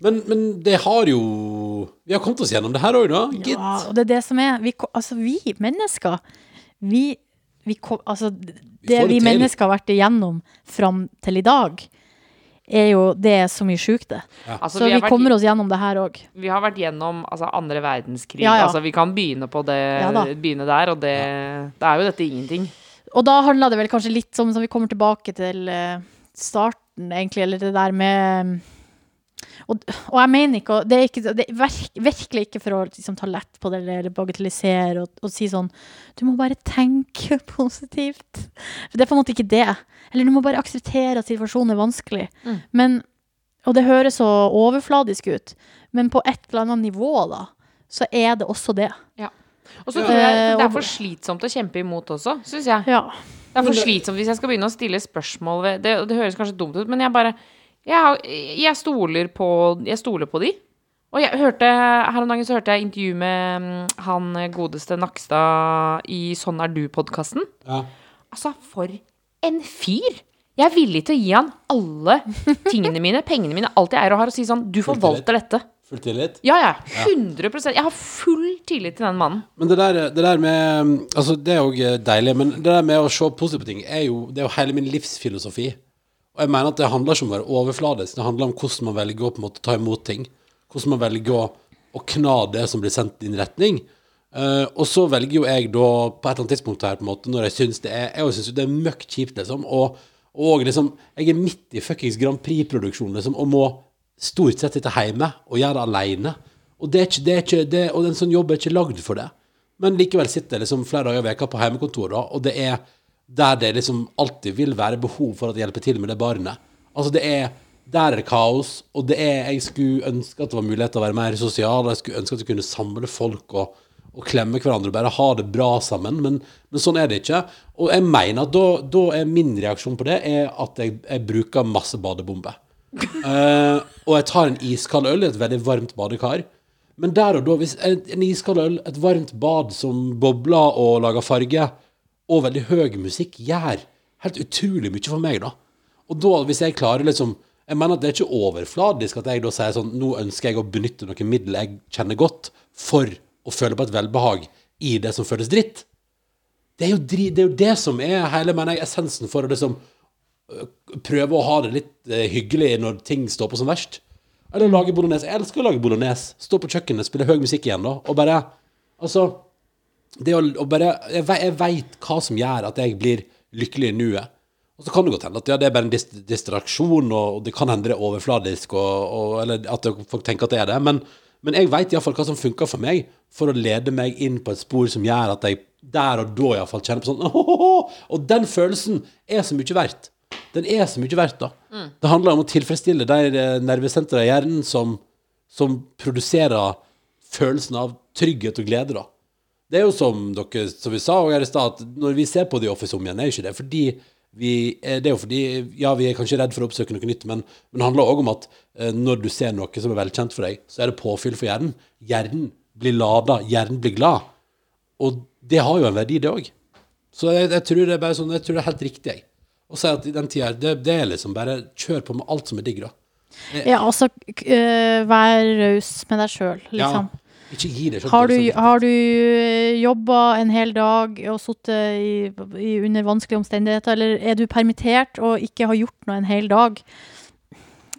[SPEAKER 3] Men, men det har jo Vi har kommet oss gjennom det her òg, da. Gitt.
[SPEAKER 5] Ja, og det er det som er Vi, ko- altså, vi mennesker vi, vi, ko- altså, Det
[SPEAKER 3] får det
[SPEAKER 5] vi
[SPEAKER 3] til.
[SPEAKER 5] mennesker har vært igjennom fram til i dag, er jo Det er så mye sjukt, det.
[SPEAKER 6] Altså,
[SPEAKER 5] så vi,
[SPEAKER 6] vi, har
[SPEAKER 5] kommer
[SPEAKER 6] vært,
[SPEAKER 5] oss gjennom det her òg.
[SPEAKER 6] vi har vært gjennom altså, andre verdenskrig.
[SPEAKER 5] Ja, ja.
[SPEAKER 6] Altså, vi kan begynne, på det,
[SPEAKER 5] Ja da.
[SPEAKER 6] begynne der, og det, da er jo dette ingenting.
[SPEAKER 5] Og da handla det vel kanskje litt om som vi kommer tilbake til eh, starten, egentlig, eller det der med mm, og, og jeg mener ikke å Det er, ikke, det er virk, virkelig ikke for å liksom, ta lett på det eller bagatellisere og, og si sånn Du må bare tenke *laughs* positivt. For det er på en måte ikke det. Eller du må bare akseptere at situasjonen er vanskelig.
[SPEAKER 6] Mm.
[SPEAKER 5] Men, og det høres så overfladisk ut, men på et eller annet nivå, da, så er det også det.
[SPEAKER 6] Og så
[SPEAKER 5] Ja.
[SPEAKER 6] tror jeg det
[SPEAKER 5] Eh,
[SPEAKER 6] er for slitsomt å kjempe imot også, syns jeg.
[SPEAKER 5] Ja.
[SPEAKER 6] Det er
[SPEAKER 3] Men
[SPEAKER 6] for
[SPEAKER 3] det-
[SPEAKER 6] slitsomt hvis jeg skal begynne å stille spørsmål ved Det, det høres kanskje dumt ut, men jeg bare Jeg, har- jeg stoler på Jeg stoler på de. Og jeg hørte, her om dagen så hørte jeg intervju med mm, han godeste Nakstad i Sånn er du-podkasten.
[SPEAKER 3] Ja.
[SPEAKER 6] Altså, for en fyr! Jeg er villig til å gi han alle tingene mine, pengene mine, alt jeg eier og har, og si sånn Du forvalter dette.
[SPEAKER 3] Full tillit.
[SPEAKER 6] Ja, ja. 100 Jeg har full tillit til den mannen.
[SPEAKER 3] Men det der, det der med Altså, det er jo deilig, men det der med å se positivt på ting er jo, det er jo hele min livsfilosofi. Og jeg mener at det handler ikke om å være overfladisk, det handler om hvordan man velger å på en måte ta imot ting. Hvordan man velger å, å kna det som blir sendt i din retning. Eh, og så velger jo jeg da på et eller annet tidspunkt her, på en måte, når jeg syns det er Jeg syns jo det er møkk kjipt, liksom. Og, og liksom, jeg er midt i fuckings Grand Prix-produksjonen, liksom, og må stort sett sitte hjemme og gjøre det aleine. Og, det er ikke, det er ikke, det, og en sånn jobb er ikke lagd for det. Men likevel sitter jeg liksom flere dager i veka på hjemmekontor, da, og det er der det liksom alltid vil være behov for at jeg hjelper til med det barnet. Altså det er Der er det kaos, og det er Jeg skulle ønske at det var mulighet til å være mer sosial, og jeg skulle ønske at vi kunne samle folk og, og klemme hverandre og bare ha det bra sammen, men, men sånn er det ikke. Og jeg mener at da, da er min reaksjon på det er at jeg, jeg bruker masse badebomber. Eh, og jeg tar en iskald øl i et veldig varmt badekar. Men der og da, hvis en, en iskald øl, et varmt bad som bobler og lager farge, og veldig høy musikk, gjør helt utrolig mye for meg, da. Og da, hvis jeg klarer liksom Jeg mener at det er ikke overfladisk at jeg da sier sånn Nå ønsker jeg å benytte noen middel jeg kjenner godt, for å føle på et velbehag i det som føles dritt. Det er jo, dri, det, er jo det som er hele mener jeg, essensen for å liksom prøve å ha det litt eh, hyggelig når ting står på som verst. Eller lage bolognese. Jeg elsker å lage bolognese. Stå på kjøkkenet, spille høy musikk igjen, da, og bare Altså det å, å bare, jeg, ve- jeg vet hva som gjør at jeg blir lykkelig i nuet. Og så kan det godt hende at ja, det er bare en dis distraksjon, og, og det kan hende det er overfladisk, og, og, eller at det- folk tenker at det er det. Men, men jeg vet iallfall hva som funker for meg, for å lede meg inn på et spor som gjør at jeg der og da iallfall kjenner på sånn *laughs* «Åhåhå!» Og den følelsen er så mye verdt. Den er så mye verdt, da. Det handler om å tilfredsstille de eh, nervesentrene i hjernen som, som produserer følelsen av trygghet og glede, da. Det er jo som dere som vi sa og her i stad, at når vi ser på The Office om igjen, er jo ikke det fordi vi eh, Det er jo fordi Ja, vi er kanskje redd for å oppsøke noe nytt, men, men det handler òg om at eh, når du ser noe som er velkjent for deg, så er det påfyll for hjernen. Hjernen blir lada, hjernen blir glad. Og det har jo en verdi, det òg. Så jeg, jeg tror det er bare sånn Jeg tror det er helt riktig, jeg. Å si at i den tida her, det, det er liksom bare kjør på med alt som er digg, da.
[SPEAKER 5] Ja, altså, k- øh, vær raus med deg sjøl, liksom.
[SPEAKER 3] Ja, ikke gi deg selv
[SPEAKER 5] Har du,
[SPEAKER 3] dårlig samvittighet.
[SPEAKER 5] har du øh, jobba en hel dag og sittet i, i under vanskelige omstendigheter, eller er du permittert og ikke har gjort noe en hel dag?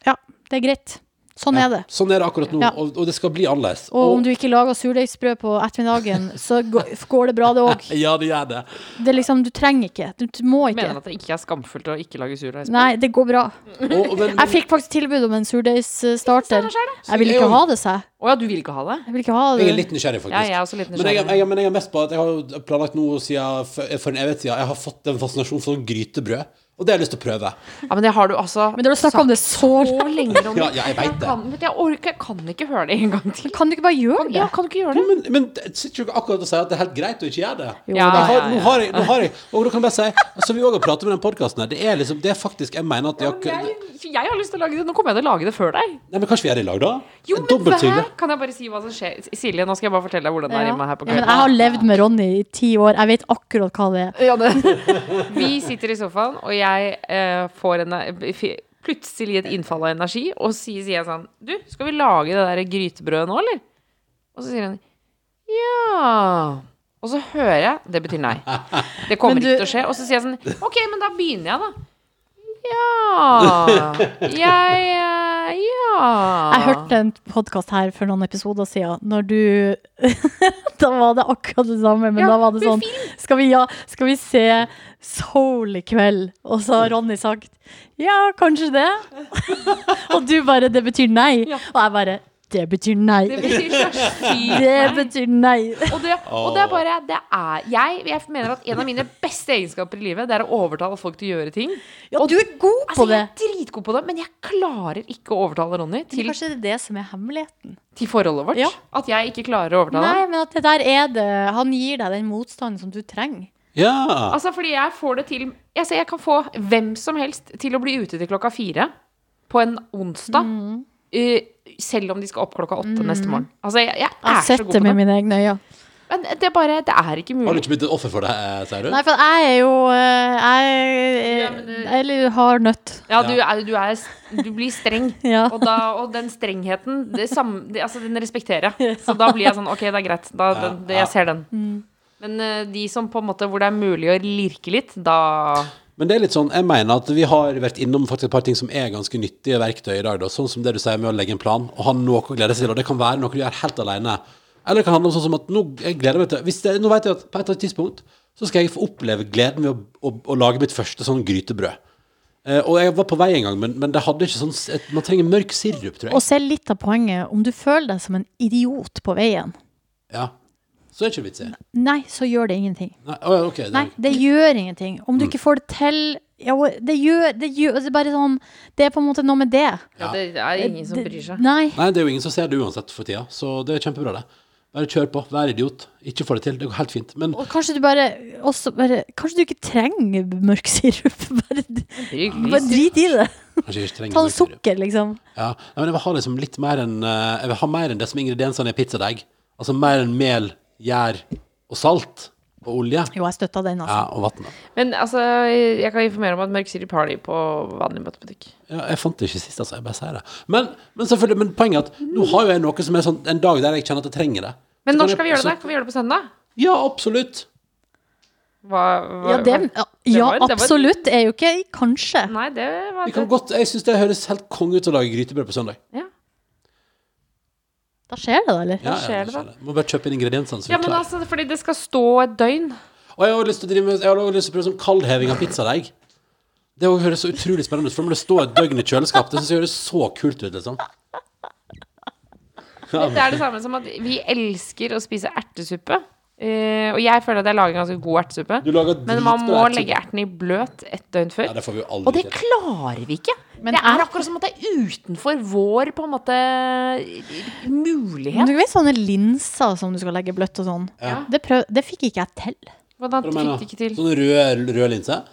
[SPEAKER 5] Ja, det er greit. Sånn er det.
[SPEAKER 3] Sånn er det akkurat nå,
[SPEAKER 5] Ja.
[SPEAKER 3] og, og det skal bli annerledes.
[SPEAKER 5] Og om du ikke lager surdeigsbrød på ettermiddagen,
[SPEAKER 3] *laughs*
[SPEAKER 5] så gå- går det bra, det òg.
[SPEAKER 3] Ja, det gjør det.
[SPEAKER 5] Det er liksom, du trenger ikke. Du t- må
[SPEAKER 6] Mener
[SPEAKER 5] ikke.
[SPEAKER 6] at det ikke er skamfullt å ikke lage surdeig?
[SPEAKER 5] Nei, det går bra.
[SPEAKER 3] Og, og, men,
[SPEAKER 5] Jeg fikk faktisk tilbud om en surdeigstarter. Jeg
[SPEAKER 3] Det
[SPEAKER 5] ville
[SPEAKER 3] er
[SPEAKER 5] ikke
[SPEAKER 3] jo-
[SPEAKER 5] ha det, sa jeg.
[SPEAKER 6] Å ja, du vil ikke ha det?
[SPEAKER 5] Jeg vil ikke ha
[SPEAKER 3] jeg er
[SPEAKER 5] det.
[SPEAKER 3] litt nysgjerrig, faktisk.
[SPEAKER 6] Ja, jeg er også litt
[SPEAKER 3] men, jeg,
[SPEAKER 6] nysgjerrig.
[SPEAKER 3] jeg, men jeg er mest på at jeg har jo planlagt noe siden for, for en evighet siden. Jeg har fått en fascinasjon for sånn grytebrød, og det har jeg lyst til å prøve.
[SPEAKER 6] Ja, men det har du altså
[SPEAKER 5] Men dere har snakka om det så
[SPEAKER 6] så lenge
[SPEAKER 3] *laughs*
[SPEAKER 6] om
[SPEAKER 3] Ja, ja, jeg vet det.
[SPEAKER 6] Kan, vet du, jeg orker, jeg kan ikke høre det en gang til.
[SPEAKER 5] Kan du ikke bare gjøre det?
[SPEAKER 6] Ja, kan du ikke gjøre det?
[SPEAKER 3] Men, men det- sitter du ikke akkurat og sier at det er helt greit å ikke gjøre det?
[SPEAKER 5] Jo, Ja,
[SPEAKER 3] Jeg har,
[SPEAKER 6] ja,
[SPEAKER 3] Nå
[SPEAKER 6] ja.
[SPEAKER 3] har jeg, nå har jeg Og da kan jeg bare si, som vi òg har pratet med den podkasten her, det er liksom Det er faktisk Jeg mener at jeg, har
[SPEAKER 6] Jeg,
[SPEAKER 3] ikke-
[SPEAKER 6] jeg har lyst til å lage det. Nå kommer jeg til å lage det før deg.
[SPEAKER 3] Nei, men kanskje vi er i lag, da?
[SPEAKER 6] Jo,
[SPEAKER 3] En
[SPEAKER 6] men
[SPEAKER 3] dobbelttyngde.
[SPEAKER 6] hver, kan jeg bare si hva som skjer? Silje, nå skal jeg bare fortelle deg hvordan det er
[SPEAKER 5] Ja.
[SPEAKER 6] hjemme her på
[SPEAKER 5] Ja, men
[SPEAKER 6] kvelden.
[SPEAKER 5] jeg har levd med Ronny i ti år. Jeg vet akkurat hva det er.
[SPEAKER 6] Ja, det. Vi sitter i sofaen, og jeg eh, får en, f- plutselig et innfall av energi, og så sier jeg sånn Du, skal vi lage det der grytebrødet nå, eller? Og så sier hun ja. Og så hører jeg Det betyr nei. Det kommer
[SPEAKER 5] Men du-
[SPEAKER 6] ikke til å skje. Og så sier jeg sånn OK, men da begynner jeg, da. Ja. Jeg eh, Ja.
[SPEAKER 5] Jeg hørte en podkast her for noen episoder siden, når du *laughs* Da var det akkurat det samme, men
[SPEAKER 6] Ja,
[SPEAKER 5] da var det
[SPEAKER 6] men
[SPEAKER 5] sånn skal vi, ja, skal vi se Soul i kveld? Og så har Ronny sagt ja, kanskje det. *laughs* Og du bare det betyr nei.
[SPEAKER 6] Ja.
[SPEAKER 5] Og jeg bare det betyr nei.
[SPEAKER 6] Det betyr så sykt
[SPEAKER 5] *laughs* Det
[SPEAKER 6] nei.
[SPEAKER 5] betyr nei.
[SPEAKER 6] Og det, og det er bare det er, jeg, jeg mener at en av mine beste egenskaper i livet Det er å overtale folk til å gjøre ting.
[SPEAKER 5] Ja, du er god
[SPEAKER 6] Altså,
[SPEAKER 5] på
[SPEAKER 6] jeg
[SPEAKER 5] det.
[SPEAKER 6] er dritgod på det, men jeg klarer ikke å overtale Ronny til,
[SPEAKER 5] Kanskje det er det som er hemmeligheten.
[SPEAKER 6] til forholdet vårt.
[SPEAKER 5] Ja.
[SPEAKER 6] At jeg ikke klarer å overtale
[SPEAKER 5] Nei,
[SPEAKER 6] ham.
[SPEAKER 5] men at det der er det. Han gir deg den motstanden som du trenger.
[SPEAKER 3] Ja.
[SPEAKER 6] Altså, fordi jeg får det til jeg, ser, jeg kan få hvem som helst til å bli ute til klokka fire på en onsdag.
[SPEAKER 5] Mm.
[SPEAKER 6] eh, selv om de skal opp klokka åtte neste morgen. Altså, jeg, jeg
[SPEAKER 5] Jeg
[SPEAKER 6] er
[SPEAKER 5] har
[SPEAKER 6] så
[SPEAKER 5] Mm. sett
[SPEAKER 6] god
[SPEAKER 5] det
[SPEAKER 6] på
[SPEAKER 5] med
[SPEAKER 6] det.
[SPEAKER 5] mine egne øyne.
[SPEAKER 6] Men det er bare Det er ikke
[SPEAKER 3] Har du
[SPEAKER 6] mulig.
[SPEAKER 3] ikke blitt et offer for det, eh, sier du?
[SPEAKER 5] Nei, for jeg er jo eh, Jeg
[SPEAKER 6] Ja, men du-
[SPEAKER 5] er- Eller har nødt.
[SPEAKER 6] Ja, du, er, du, er, du blir streng.
[SPEAKER 5] Ja.
[SPEAKER 6] Og, da, og den strengheten, det samme, det, altså, den
[SPEAKER 5] *laughs*
[SPEAKER 6] respekterer jeg. Så da blir jeg sånn, ok, det er greit. Da, den, det, jeg ser den.
[SPEAKER 5] Mm.
[SPEAKER 6] Men eh, de som på en måte, hvor det er mulig å lirke litt, da
[SPEAKER 3] Men det er litt sånn, jeg mener at vi har vært innom faktisk et par ting som er ganske nyttige verktøy i dag. Da. Sånn som det du sier med å legge en plan og ha noe å glede seg til. Og det kan være noe du gjør helt alene. Eller det kan handle om sånn som at nå jeg gleder meg til hvis det, Nå vet jeg at på et eller annet tidspunkt så skal jeg få oppleve gleden ved å, å, å lage mitt første sånn grytebrød. Eh, og jeg var på vei en gang, men, men det hadde ikke sånn s- et- Man trenger mørk sirup, tror
[SPEAKER 5] Og
[SPEAKER 3] jeg.
[SPEAKER 5] så er litt av poenget, om du føler deg som en idiot på veien,
[SPEAKER 3] Ja. Så er det ikke vits i.
[SPEAKER 5] nei, så gjør det ingenting.
[SPEAKER 3] Nei, å ja, ok,
[SPEAKER 5] Nei,
[SPEAKER 3] den-
[SPEAKER 5] det gjør ingenting. Om
[SPEAKER 6] Mm.
[SPEAKER 5] du ikke får det til, ja, det gjør, det gjør, det er bare sånn, det er på en måte noe med det.
[SPEAKER 6] Ja, det er ingen som bryr seg.
[SPEAKER 5] Nei,
[SPEAKER 3] Nei, det er jo ingen som ser det uansett for tida, så det er kjempebra, det. Bare kjør på. Vær idiot. Ikke få det til. Det går helt fint. Men
[SPEAKER 5] og kanskje du bare, også bare, kanskje du ikke trenger mørk sirup, *laughs* bare, bare drit i det.
[SPEAKER 3] kanskje jeg ikke trenger
[SPEAKER 5] Ta
[SPEAKER 3] mørk
[SPEAKER 5] noe
[SPEAKER 3] sirup.
[SPEAKER 5] sukker, liksom.
[SPEAKER 3] Ja, nei, men jeg vil ha liksom litt mer enn eh, Jeg vil ha mer enn det som er ingrediensene i pizzadeig. Altså mer enn mel, gjær og salt og olje.
[SPEAKER 5] Jo, jeg støtta den, altså.
[SPEAKER 3] Ja, og vann.
[SPEAKER 6] Men altså, jeg kan informere om at mørk sirup har de på vanlig matematikk.
[SPEAKER 3] Ja, jeg fant det ikke sist, altså. Jeg bare sier det. Men, men selvfølgelig, men poenget er at nå har jo jeg noe som er sånn en dag der jeg kjenner at jeg trenger det. Så kan
[SPEAKER 6] Men når
[SPEAKER 3] jeg-
[SPEAKER 6] skal vi gjøre
[SPEAKER 3] så-
[SPEAKER 6] det? Kan vi gjøre det på søndag?
[SPEAKER 3] Ja, absolutt.
[SPEAKER 6] Hva, hva,
[SPEAKER 5] Ja, det, ja, ja
[SPEAKER 6] var- det var-
[SPEAKER 5] absolutt, er jo ikke kanskje.
[SPEAKER 6] Nei, det var
[SPEAKER 3] Vi kan godt, jeg syns det høres helt konge ut å lage grytebrød på søndag.
[SPEAKER 6] Ja.
[SPEAKER 5] Da skjer det da, eller?
[SPEAKER 3] Ja,
[SPEAKER 6] skjer det da?
[SPEAKER 3] Må bare kjøpe inn ingrediensene. Så vi er
[SPEAKER 6] ja, men
[SPEAKER 3] klare.
[SPEAKER 6] altså, fordi det skal stå et døgn.
[SPEAKER 3] Og jeg har også lyst til å drive med Jeg har også lyst til å prøve sånn kaldheving av pizzadeig. Det også høres så utrolig spennende ut. For når det står et døgn i kjøleskapet, det syns jeg høres så kult ut, liksom.
[SPEAKER 6] Det er det samme som at vi elsker å spise ertesuppe. Eh, og jeg føler at jeg lager ganske god ertesuppe.
[SPEAKER 3] Du lager
[SPEAKER 6] Men man
[SPEAKER 3] dritbra
[SPEAKER 6] må
[SPEAKER 3] ertesuppe.
[SPEAKER 6] legge ertene i bløt et døgn før.
[SPEAKER 3] Ja, det får vi jo aldri
[SPEAKER 6] og det
[SPEAKER 3] til.
[SPEAKER 6] klarer vi ikke.
[SPEAKER 5] Men
[SPEAKER 6] det er
[SPEAKER 5] er-
[SPEAKER 6] akkurat som at det er utenfor vår på en måte
[SPEAKER 5] Men
[SPEAKER 6] mulighet.
[SPEAKER 5] du vet sånne linser som du skal legge bløtt og sånn?
[SPEAKER 3] Ja.
[SPEAKER 5] Det, prøv, det fikk ikke jeg til.
[SPEAKER 6] Hvordan
[SPEAKER 3] Hva
[SPEAKER 6] fikk
[SPEAKER 3] du Sånn mener?
[SPEAKER 6] du ikke til?
[SPEAKER 3] Sånne røde, røde linser.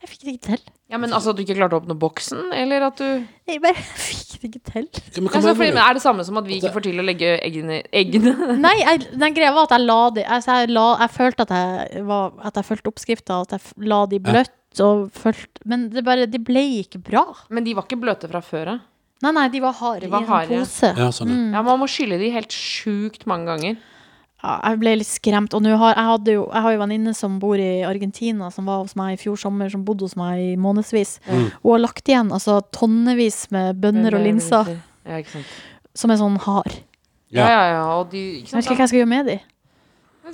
[SPEAKER 5] Jeg fikk det ikke til.
[SPEAKER 6] Ja, men altså at du ikke klarte å åpne boksen, eller at du
[SPEAKER 5] Jeg bare *laughs* fikk det ikke til.
[SPEAKER 3] Ja, men hva
[SPEAKER 6] ja, så,
[SPEAKER 3] mener
[SPEAKER 6] fordi,
[SPEAKER 3] du?
[SPEAKER 6] men Er det samme som at vi ikke får til å legge eggene, eggene? *laughs*
[SPEAKER 5] Nei, jeg, den greia var at jeg la de altså jeg, la, jeg følte at jeg, var, at jeg fulgte oppskrifta, at jeg f- la de bløtt. Og fulgt, men det bare, de ble ikke bra.
[SPEAKER 6] Men de var ikke bløte fra før av.
[SPEAKER 5] Nei, nei, de var harde i
[SPEAKER 6] var
[SPEAKER 5] en
[SPEAKER 6] harde.
[SPEAKER 5] pose.
[SPEAKER 3] Ja, sånn, ja.
[SPEAKER 6] Ja, man må skylle de helt sjukt mange ganger.
[SPEAKER 5] Ja, jeg ble litt skremt. Og nå har jeg, hadde jo, jeg har jo venninne som bor i Argentina, som var hos meg i fjor sommer, som bodde hos meg i månedsvis. Hun har lagt igjen altså, tonnevis med bønner og linser
[SPEAKER 6] Ja, ikke sant.
[SPEAKER 5] som er sånn hard.
[SPEAKER 6] Ja, ja, ja, og de ikke
[SPEAKER 5] Jeg vet
[SPEAKER 6] sant,
[SPEAKER 5] ikke hva jeg skal gjøre med de.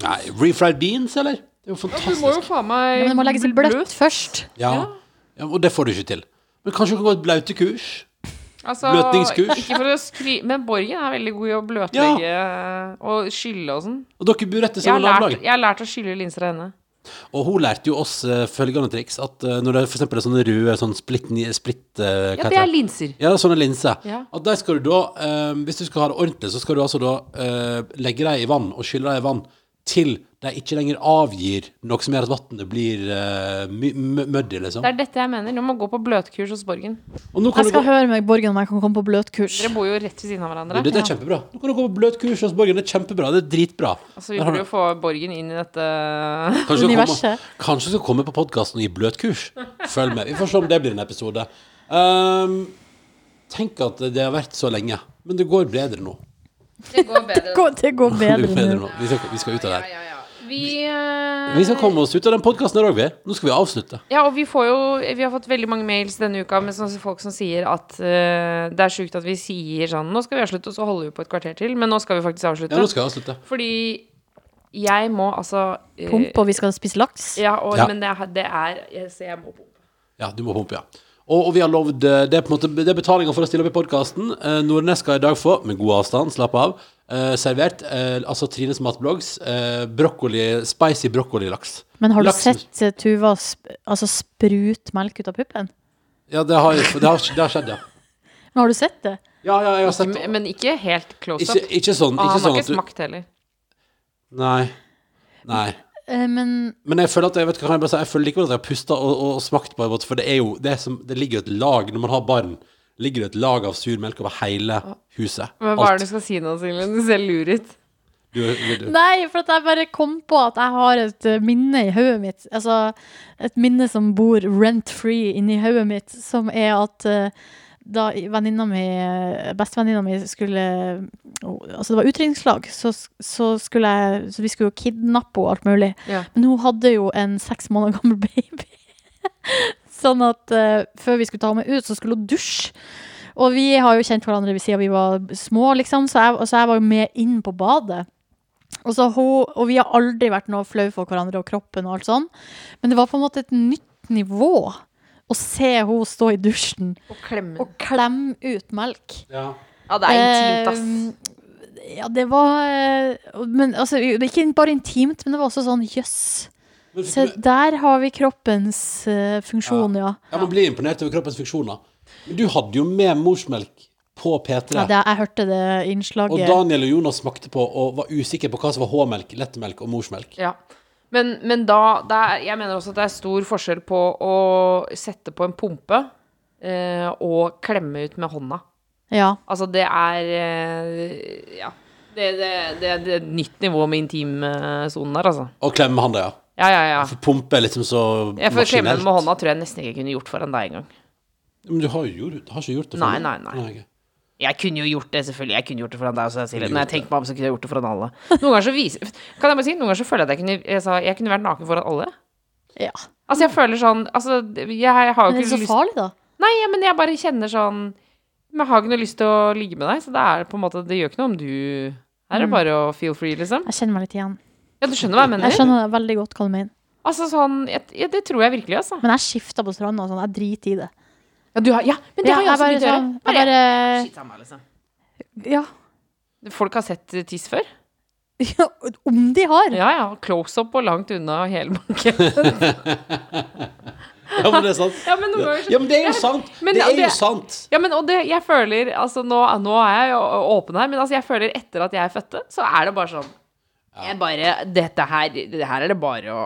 [SPEAKER 3] Nei, refried beans, eller? Det er jo
[SPEAKER 6] da- Du Mm. må jo
[SPEAKER 3] fantastisk.
[SPEAKER 6] faen meg
[SPEAKER 5] Ja, men det må legges bløtt først.
[SPEAKER 3] Ja. ja, Og det får du ikke til. Men kanskje du kan gå et blautekurs?
[SPEAKER 6] Altså,
[SPEAKER 3] Bløtningskurs.
[SPEAKER 6] Ikke for å skry... Men Borgen er veldig god i å bløtlegge eh, og skylle og sånn.
[SPEAKER 3] Og dere bor etter
[SPEAKER 6] Jeg har,
[SPEAKER 3] samme
[SPEAKER 6] lært,
[SPEAKER 3] nabolag.
[SPEAKER 6] jeg har lært å skylle linser av henne.
[SPEAKER 3] Og hun lærte jo oss eh, følgende triks. At eh, når det er for eksempel er sånne røde sånn splitt, ni- splitt eh, hva
[SPEAKER 6] Ja,
[SPEAKER 3] heter
[SPEAKER 6] det er linser.
[SPEAKER 3] Ja, det er sånne linser.
[SPEAKER 6] Ja.
[SPEAKER 3] At der skal du da, eh, hvis du skal ha det ordentlig, så skal du altså da eh, legge dem i vann og skylle dem i vann til de ikke lenger avgir noe som gjør at vannet blir eh, my- mø- muddy, liksom.
[SPEAKER 6] Det er dette jeg mener. Du må gå på bløtkurs hos Borgen.
[SPEAKER 3] Og nå kan
[SPEAKER 5] Jeg
[SPEAKER 3] du gå
[SPEAKER 5] skal høre med Borgen om jeg kan komme på bløtkurs.
[SPEAKER 6] Dere bor jo rett ved siden av hverandre.
[SPEAKER 3] Jo, Dette er kjempebra. Nå kan du gå på bløtkurs hos Borgen. Det er kjempebra. Det er dritbra.
[SPEAKER 6] Altså, vi
[SPEAKER 3] Der har
[SPEAKER 6] burde
[SPEAKER 3] du-
[SPEAKER 6] jo få Borgen inn i dette
[SPEAKER 3] Kanskje du
[SPEAKER 5] Universet.
[SPEAKER 3] Komme, kanskje du skal komme på podkasten og gi bløtkurs. Følg med. Vi får se om det blir en episode. Ehm, tenk at det har vært så lenge. Men det går bedre nå.
[SPEAKER 6] Det går bedre.
[SPEAKER 5] *laughs* Gå- Det går
[SPEAKER 3] det
[SPEAKER 5] bedre
[SPEAKER 3] går bedre
[SPEAKER 5] nå.
[SPEAKER 3] nå. Vi, skal, vi skal ut av det her.
[SPEAKER 6] *laughs* Vi, eh,
[SPEAKER 3] Vi skal komme oss ut av den podkasten her òg, vi. Nå skal vi avslutte.
[SPEAKER 6] Ja, og vi får jo Vi har fått veldig mange mails denne uka med sånne folk som sier at eh, det er sjukt at vi sier sånn Nå skal vi avslutte, og så holder vi på et kvarter til. Men nå skal vi faktisk avslutte.
[SPEAKER 3] Ja, nå skal jeg avslutte.
[SPEAKER 6] Fordi jeg må altså eh,
[SPEAKER 5] Pump, og vi skal spise laks.
[SPEAKER 6] Ja, og,
[SPEAKER 3] Ja.
[SPEAKER 6] men det, er- det er jeg- Så jeg må pumpe.
[SPEAKER 3] Ja, du må pumpe, ja. Og, og vi har lovd eh, Det er på en måte Det er betalinga for å stille opp i podkasten. Eh, Nordnes skal i dag få, med god avstand, slapp av, eh, servert eh, altså Trines matblogs eh, brokkoli, spicy brokkolilaks.
[SPEAKER 5] Men har du
[SPEAKER 3] Laks-
[SPEAKER 5] sett eh, Tuva sp altså sprut melk ut av puppen?
[SPEAKER 3] Ja, det har, jeg- det har, det har skjedd, ja.
[SPEAKER 5] Men har du sett det?
[SPEAKER 3] Ja, ja, jeg har sett
[SPEAKER 6] Men, men ikke helt close up.
[SPEAKER 3] Ikke, ikke sånn,
[SPEAKER 6] og han
[SPEAKER 3] ikke
[SPEAKER 6] har
[SPEAKER 3] sånn
[SPEAKER 6] ikke
[SPEAKER 3] at du
[SPEAKER 6] smakt heller.
[SPEAKER 3] Nei. Nei.
[SPEAKER 5] Eh, Men
[SPEAKER 3] Men jeg føler at jeg vet hva kan jeg bare si Jeg føler likevel at jeg har pusta og, og smakt på en måte, for det er jo det, er som, det ligger jo et lag Når man har barn, ligger det et lag av sur melk over hele huset.
[SPEAKER 6] Men hva er det du skal si nå, Silje? Du ser lur ut.
[SPEAKER 3] Du, du, du.
[SPEAKER 5] Nei, for at jeg bare kom på at jeg har et eh, minne i hodet mitt. Altså et minne som bor rent free inni hodet mitt, som er at eh, da venninna mi, eh, bestevenninna mi skulle Altså det var utdrikningslag, så, så skulle jeg Så vi skulle jo kidnappe henne og alt mulig.
[SPEAKER 6] Ja.
[SPEAKER 5] Men hun hadde jo en seks måneder gammel baby. *laughs* Sånn at eh, før vi skulle ta henne ut, så skulle hun dusje. Og vi har jo kjent hverandre siden vi var små, liksom, så jeg, så jeg var jo med inn på badet. Og, så Altså, hun, og vi har aldri vært noe flau for hverandre og kroppen og alt sånn. Men det var på en måte et nytt nivå å se henne stå i dusjen
[SPEAKER 6] Og klemme.
[SPEAKER 5] og klemme ut melk.
[SPEAKER 3] Ja.
[SPEAKER 6] Ja, det er intimt, ass.
[SPEAKER 5] Eh, Ja, det var eh, men, altså, det er Ikke bare intimt, men det var også sånn jøss.
[SPEAKER 3] Men,
[SPEAKER 5] Se,
[SPEAKER 3] fikk du-
[SPEAKER 5] der har vi kroppens eh, funksjon, ja.
[SPEAKER 3] ja, man blir imponert over kroppens funksjoner. Men du hadde jo med morsmelk på P3.
[SPEAKER 5] ja det, jeg hørte det
[SPEAKER 3] og
[SPEAKER 5] innslaget.
[SPEAKER 3] Daniel og Jonas smakte på og var usikre på hva som var H-melk, lettmelk og morsmelk.
[SPEAKER 6] Ja. Men, men da det er, Jeg mener også at det er stor forskjell på å sette på en pumpe eh, og klemme ut med hånda.
[SPEAKER 5] ja.
[SPEAKER 6] Altså, det er eh, Ja. Det, det, det, det er et nytt nivå med intimsonen der, altså.
[SPEAKER 3] Og klemme med handa, ja.
[SPEAKER 6] Ja, ja, ja.
[SPEAKER 3] For pumpe er liksom så
[SPEAKER 6] Jeg får klemme den
[SPEAKER 3] maskinelt.
[SPEAKER 6] med hånda, tror jeg nesten ikke jeg kunne gjort foran deg engang.
[SPEAKER 3] Men du har jo gjort, har ikke gjort det
[SPEAKER 6] Nei,
[SPEAKER 3] før?
[SPEAKER 6] nei, nei.
[SPEAKER 3] ok.
[SPEAKER 6] Jeg kunne jo gjort det, selvfølgelig. Jeg kunne gjort det foran deg også, Silje. Når jeg tenker meg om, så kunne jeg gjort det foran alle. Noen ganger så viser Kan jeg bare si, noen ganger så føler jeg at jeg kunne jeg, sa, jeg kunne vært naken foran alle.
[SPEAKER 5] ja.
[SPEAKER 6] Altså, jeg føler sånn Altså, jeg har
[SPEAKER 5] Men det er
[SPEAKER 6] jo ikke
[SPEAKER 5] så
[SPEAKER 6] lyst
[SPEAKER 5] farlig, da.
[SPEAKER 6] Nei, ja, men jeg bare kjenner sånn Men jeg har ikke noe lyst til å ligge med deg, så det er på en måte Det gjør ikke noe om du Her er det bare å feel free, liksom.
[SPEAKER 5] Jeg kjenner meg litt igjen.
[SPEAKER 6] Ja, du skjønner hva jeg *laughs* mener?
[SPEAKER 5] Jeg skjønner veldig godt hva du mener.
[SPEAKER 6] Altså sånn jeg, ja, Det tror jeg virkelig, altså.
[SPEAKER 5] Men jeg skifter på stranda og sånn. Jeg driter i det.
[SPEAKER 6] Ja, du har, ja men det
[SPEAKER 5] Ja,
[SPEAKER 6] har jeg
[SPEAKER 5] jeg
[SPEAKER 6] også
[SPEAKER 5] bare
[SPEAKER 6] begynt å gjøre.
[SPEAKER 5] sånn- jeg
[SPEAKER 6] Bare,
[SPEAKER 5] bare-
[SPEAKER 6] Shit, han er liksom.
[SPEAKER 5] Ja. *laughs*
[SPEAKER 6] Folk har sett eh, tiss før?
[SPEAKER 5] Ja, Om de har!
[SPEAKER 6] Ja ja. Close up og langt unna og hele banken.
[SPEAKER 3] Ja, men det er sant.
[SPEAKER 6] *laughs* Ja, men noen ganger
[SPEAKER 3] Ja,
[SPEAKER 6] så-
[SPEAKER 3] men det er jo sant!
[SPEAKER 6] Men
[SPEAKER 3] det
[SPEAKER 6] ja,
[SPEAKER 3] er jo
[SPEAKER 6] det-
[SPEAKER 3] sant!
[SPEAKER 6] Ja, men og det, jeg føler Altså, nå, nå er jeg jo åpen her, men altså, jeg føler etter at jeg er fødte, så er det bare sånn Jeg bare Dette her det Her er det bare å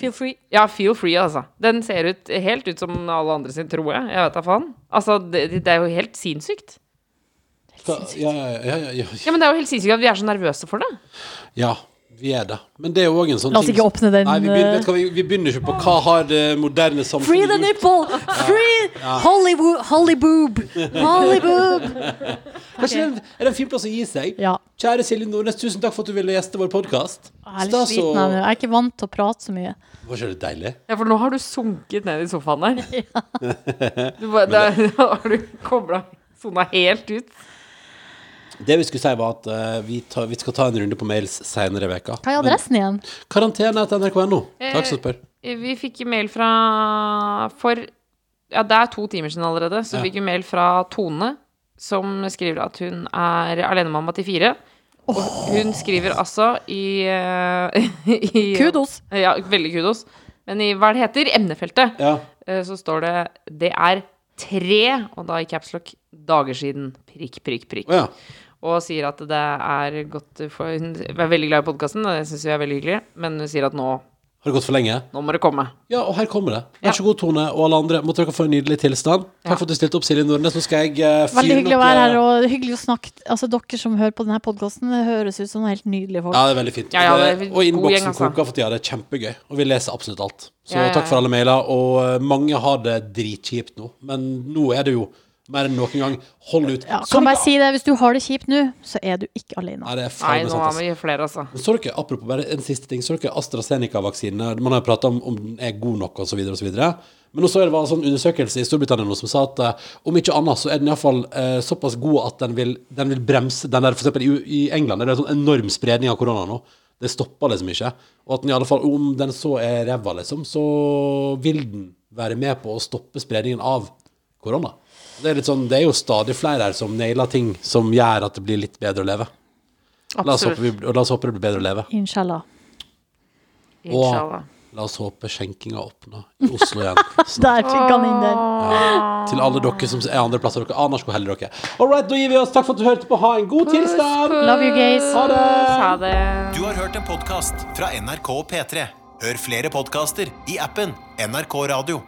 [SPEAKER 5] Feel free.
[SPEAKER 6] Ja, feel free, altså. Den ser ut helt ut som alle andre sin, tror jeg. Jeg vet da faen. Altså, det, det er jo helt sinnssykt.
[SPEAKER 3] Ja, ja, ja, ja, ja,
[SPEAKER 6] Ja, men det er jo helt sinnssykt at vi er så nervøse for det.
[SPEAKER 3] Ja, vi er det. Men det er jo òg en sånn
[SPEAKER 5] La oss
[SPEAKER 3] ting-
[SPEAKER 5] ikke åpne den,
[SPEAKER 3] Nei, vi begynner, vet
[SPEAKER 5] eh,
[SPEAKER 3] du hva, vi, vi begynner ikke på hva har det moderne
[SPEAKER 5] Free the
[SPEAKER 3] samfunnet gjort.
[SPEAKER 5] nipple! Free Hollywood Hollyboob! Hollyboob!
[SPEAKER 3] Kanskje det er- er det en fin plass å gi seg?
[SPEAKER 5] Ja.
[SPEAKER 3] Kjære Silje Nordnes, tusen takk for at du ville gjeste vår podkast.
[SPEAKER 5] Jeg er litt sliten av det. Jeg er ikke vant til å prate så mye.
[SPEAKER 3] Var ikke det deilig?
[SPEAKER 6] Ja, for nå har du sunket ned i
[SPEAKER 5] *laughs*
[SPEAKER 6] sofaen der. Du bare, *laughs* der har du kobla sona helt ut.
[SPEAKER 3] Det vi skulle si, var at eh, vi, tar, vi skal ta en runde på mails seinere i veka.
[SPEAKER 5] Hva er adressen igjen?
[SPEAKER 3] Men Karantene etter nrk.no. Takk som spør.
[SPEAKER 6] Vi fikk mail fra For Ja, det er to timer siden allerede. Så
[SPEAKER 3] Ja.
[SPEAKER 6] fikk vi mail fra Tone, som skriver at hun er alenemamma til fire. Og hun skriver altså i, eh, *laughs* i
[SPEAKER 5] Kudos.
[SPEAKER 6] Ja, veldig kudos. Men i hva det heter, emnefeltet,
[SPEAKER 3] Ja.
[SPEAKER 6] eh, så står det Det er tre, og da i caps lock, dager siden. Prikk, prikk, prikk.
[SPEAKER 3] Å ja.
[SPEAKER 6] Og sier at det er godt for Hun er veldig glad i podkasten, og det syns vi er veldig hyggelig, men hun sier at nå,
[SPEAKER 3] Har det gått for lenge?
[SPEAKER 6] nå må det komme.
[SPEAKER 3] Ja, og her kommer det. Vær så god, Tone og alle andre. Måtte dere få en nydelig tilstand. Takk for at du stilte opp, Silje Nordnes. Nå skal jeg eh, fyre
[SPEAKER 5] Veldig hyggelig å
[SPEAKER 3] noe-
[SPEAKER 5] være her, og hyggelig å snakke Altså, dere som hører på denne podkasten, høres ut som helt nydelige folk.
[SPEAKER 3] Ja, det er veldig fint.
[SPEAKER 6] Ja, ja, det er
[SPEAKER 3] Det-
[SPEAKER 6] god
[SPEAKER 3] og
[SPEAKER 6] gjeng,
[SPEAKER 3] innboksen
[SPEAKER 6] altså.
[SPEAKER 3] koker for tida. Det er kjempegøy. Og vi leser absolutt alt. Så
[SPEAKER 6] Ja, ja, ja.
[SPEAKER 3] takk for alle mailer. Og eh, mange har det dritkjipt nå. Men nå er det jo mer enn noen gang. Hold ut.
[SPEAKER 5] Ja,
[SPEAKER 3] Så
[SPEAKER 5] kan bare
[SPEAKER 3] dere-
[SPEAKER 5] si det, hvis du har det kjipt nå, så er du ikke alene.
[SPEAKER 3] Nei, det er
[SPEAKER 6] Nei,
[SPEAKER 3] faen meg
[SPEAKER 6] nå
[SPEAKER 3] sant,
[SPEAKER 6] har
[SPEAKER 3] altså.
[SPEAKER 6] vi flere, altså.
[SPEAKER 3] Men Så dere, apropos bare en siste ting, så dere AstraZeneca-vaksinene? Man har jo prata om om den er god nok, osv., osv. Men også er det var en sånn undersøkelse i Storbritannia nå som sa at eh, om ikke annet, så er den iallfall eh, såpass god at den vil, den vil bremse den der, For eksempel i, U- i England er det en sånn enorm spredning av korona nå. Det stopper liksom ikke. Og at den i alle fall, om den så er ræva, liksom, så vil den være med på å stoppe spredningen av korona. Det er, litt sånn, det er jo stadig flere her som nailer ting som gjør at det blir litt bedre å leve. La oss, håpe,
[SPEAKER 6] Absolutt.
[SPEAKER 3] vi, og la oss håpe det blir bedre å leve.
[SPEAKER 5] Inshallah.
[SPEAKER 6] Inshallah.
[SPEAKER 3] Og la oss håpe skjenkinga åpner i Oslo *laughs* igjen. snart.
[SPEAKER 5] Der fikk han inn den.
[SPEAKER 3] Til alle dere som er andre plasser. Dere aner ikke hvor heldige dere er. All right, da gir vi oss. Takk for at du hørte på. Ha en god tilstand!
[SPEAKER 5] Love you guys.
[SPEAKER 3] Ha det.
[SPEAKER 6] Ha det.
[SPEAKER 1] Du har hørt en podcast fra NRK P3. Hør flere podcaster i appen NRK Radio.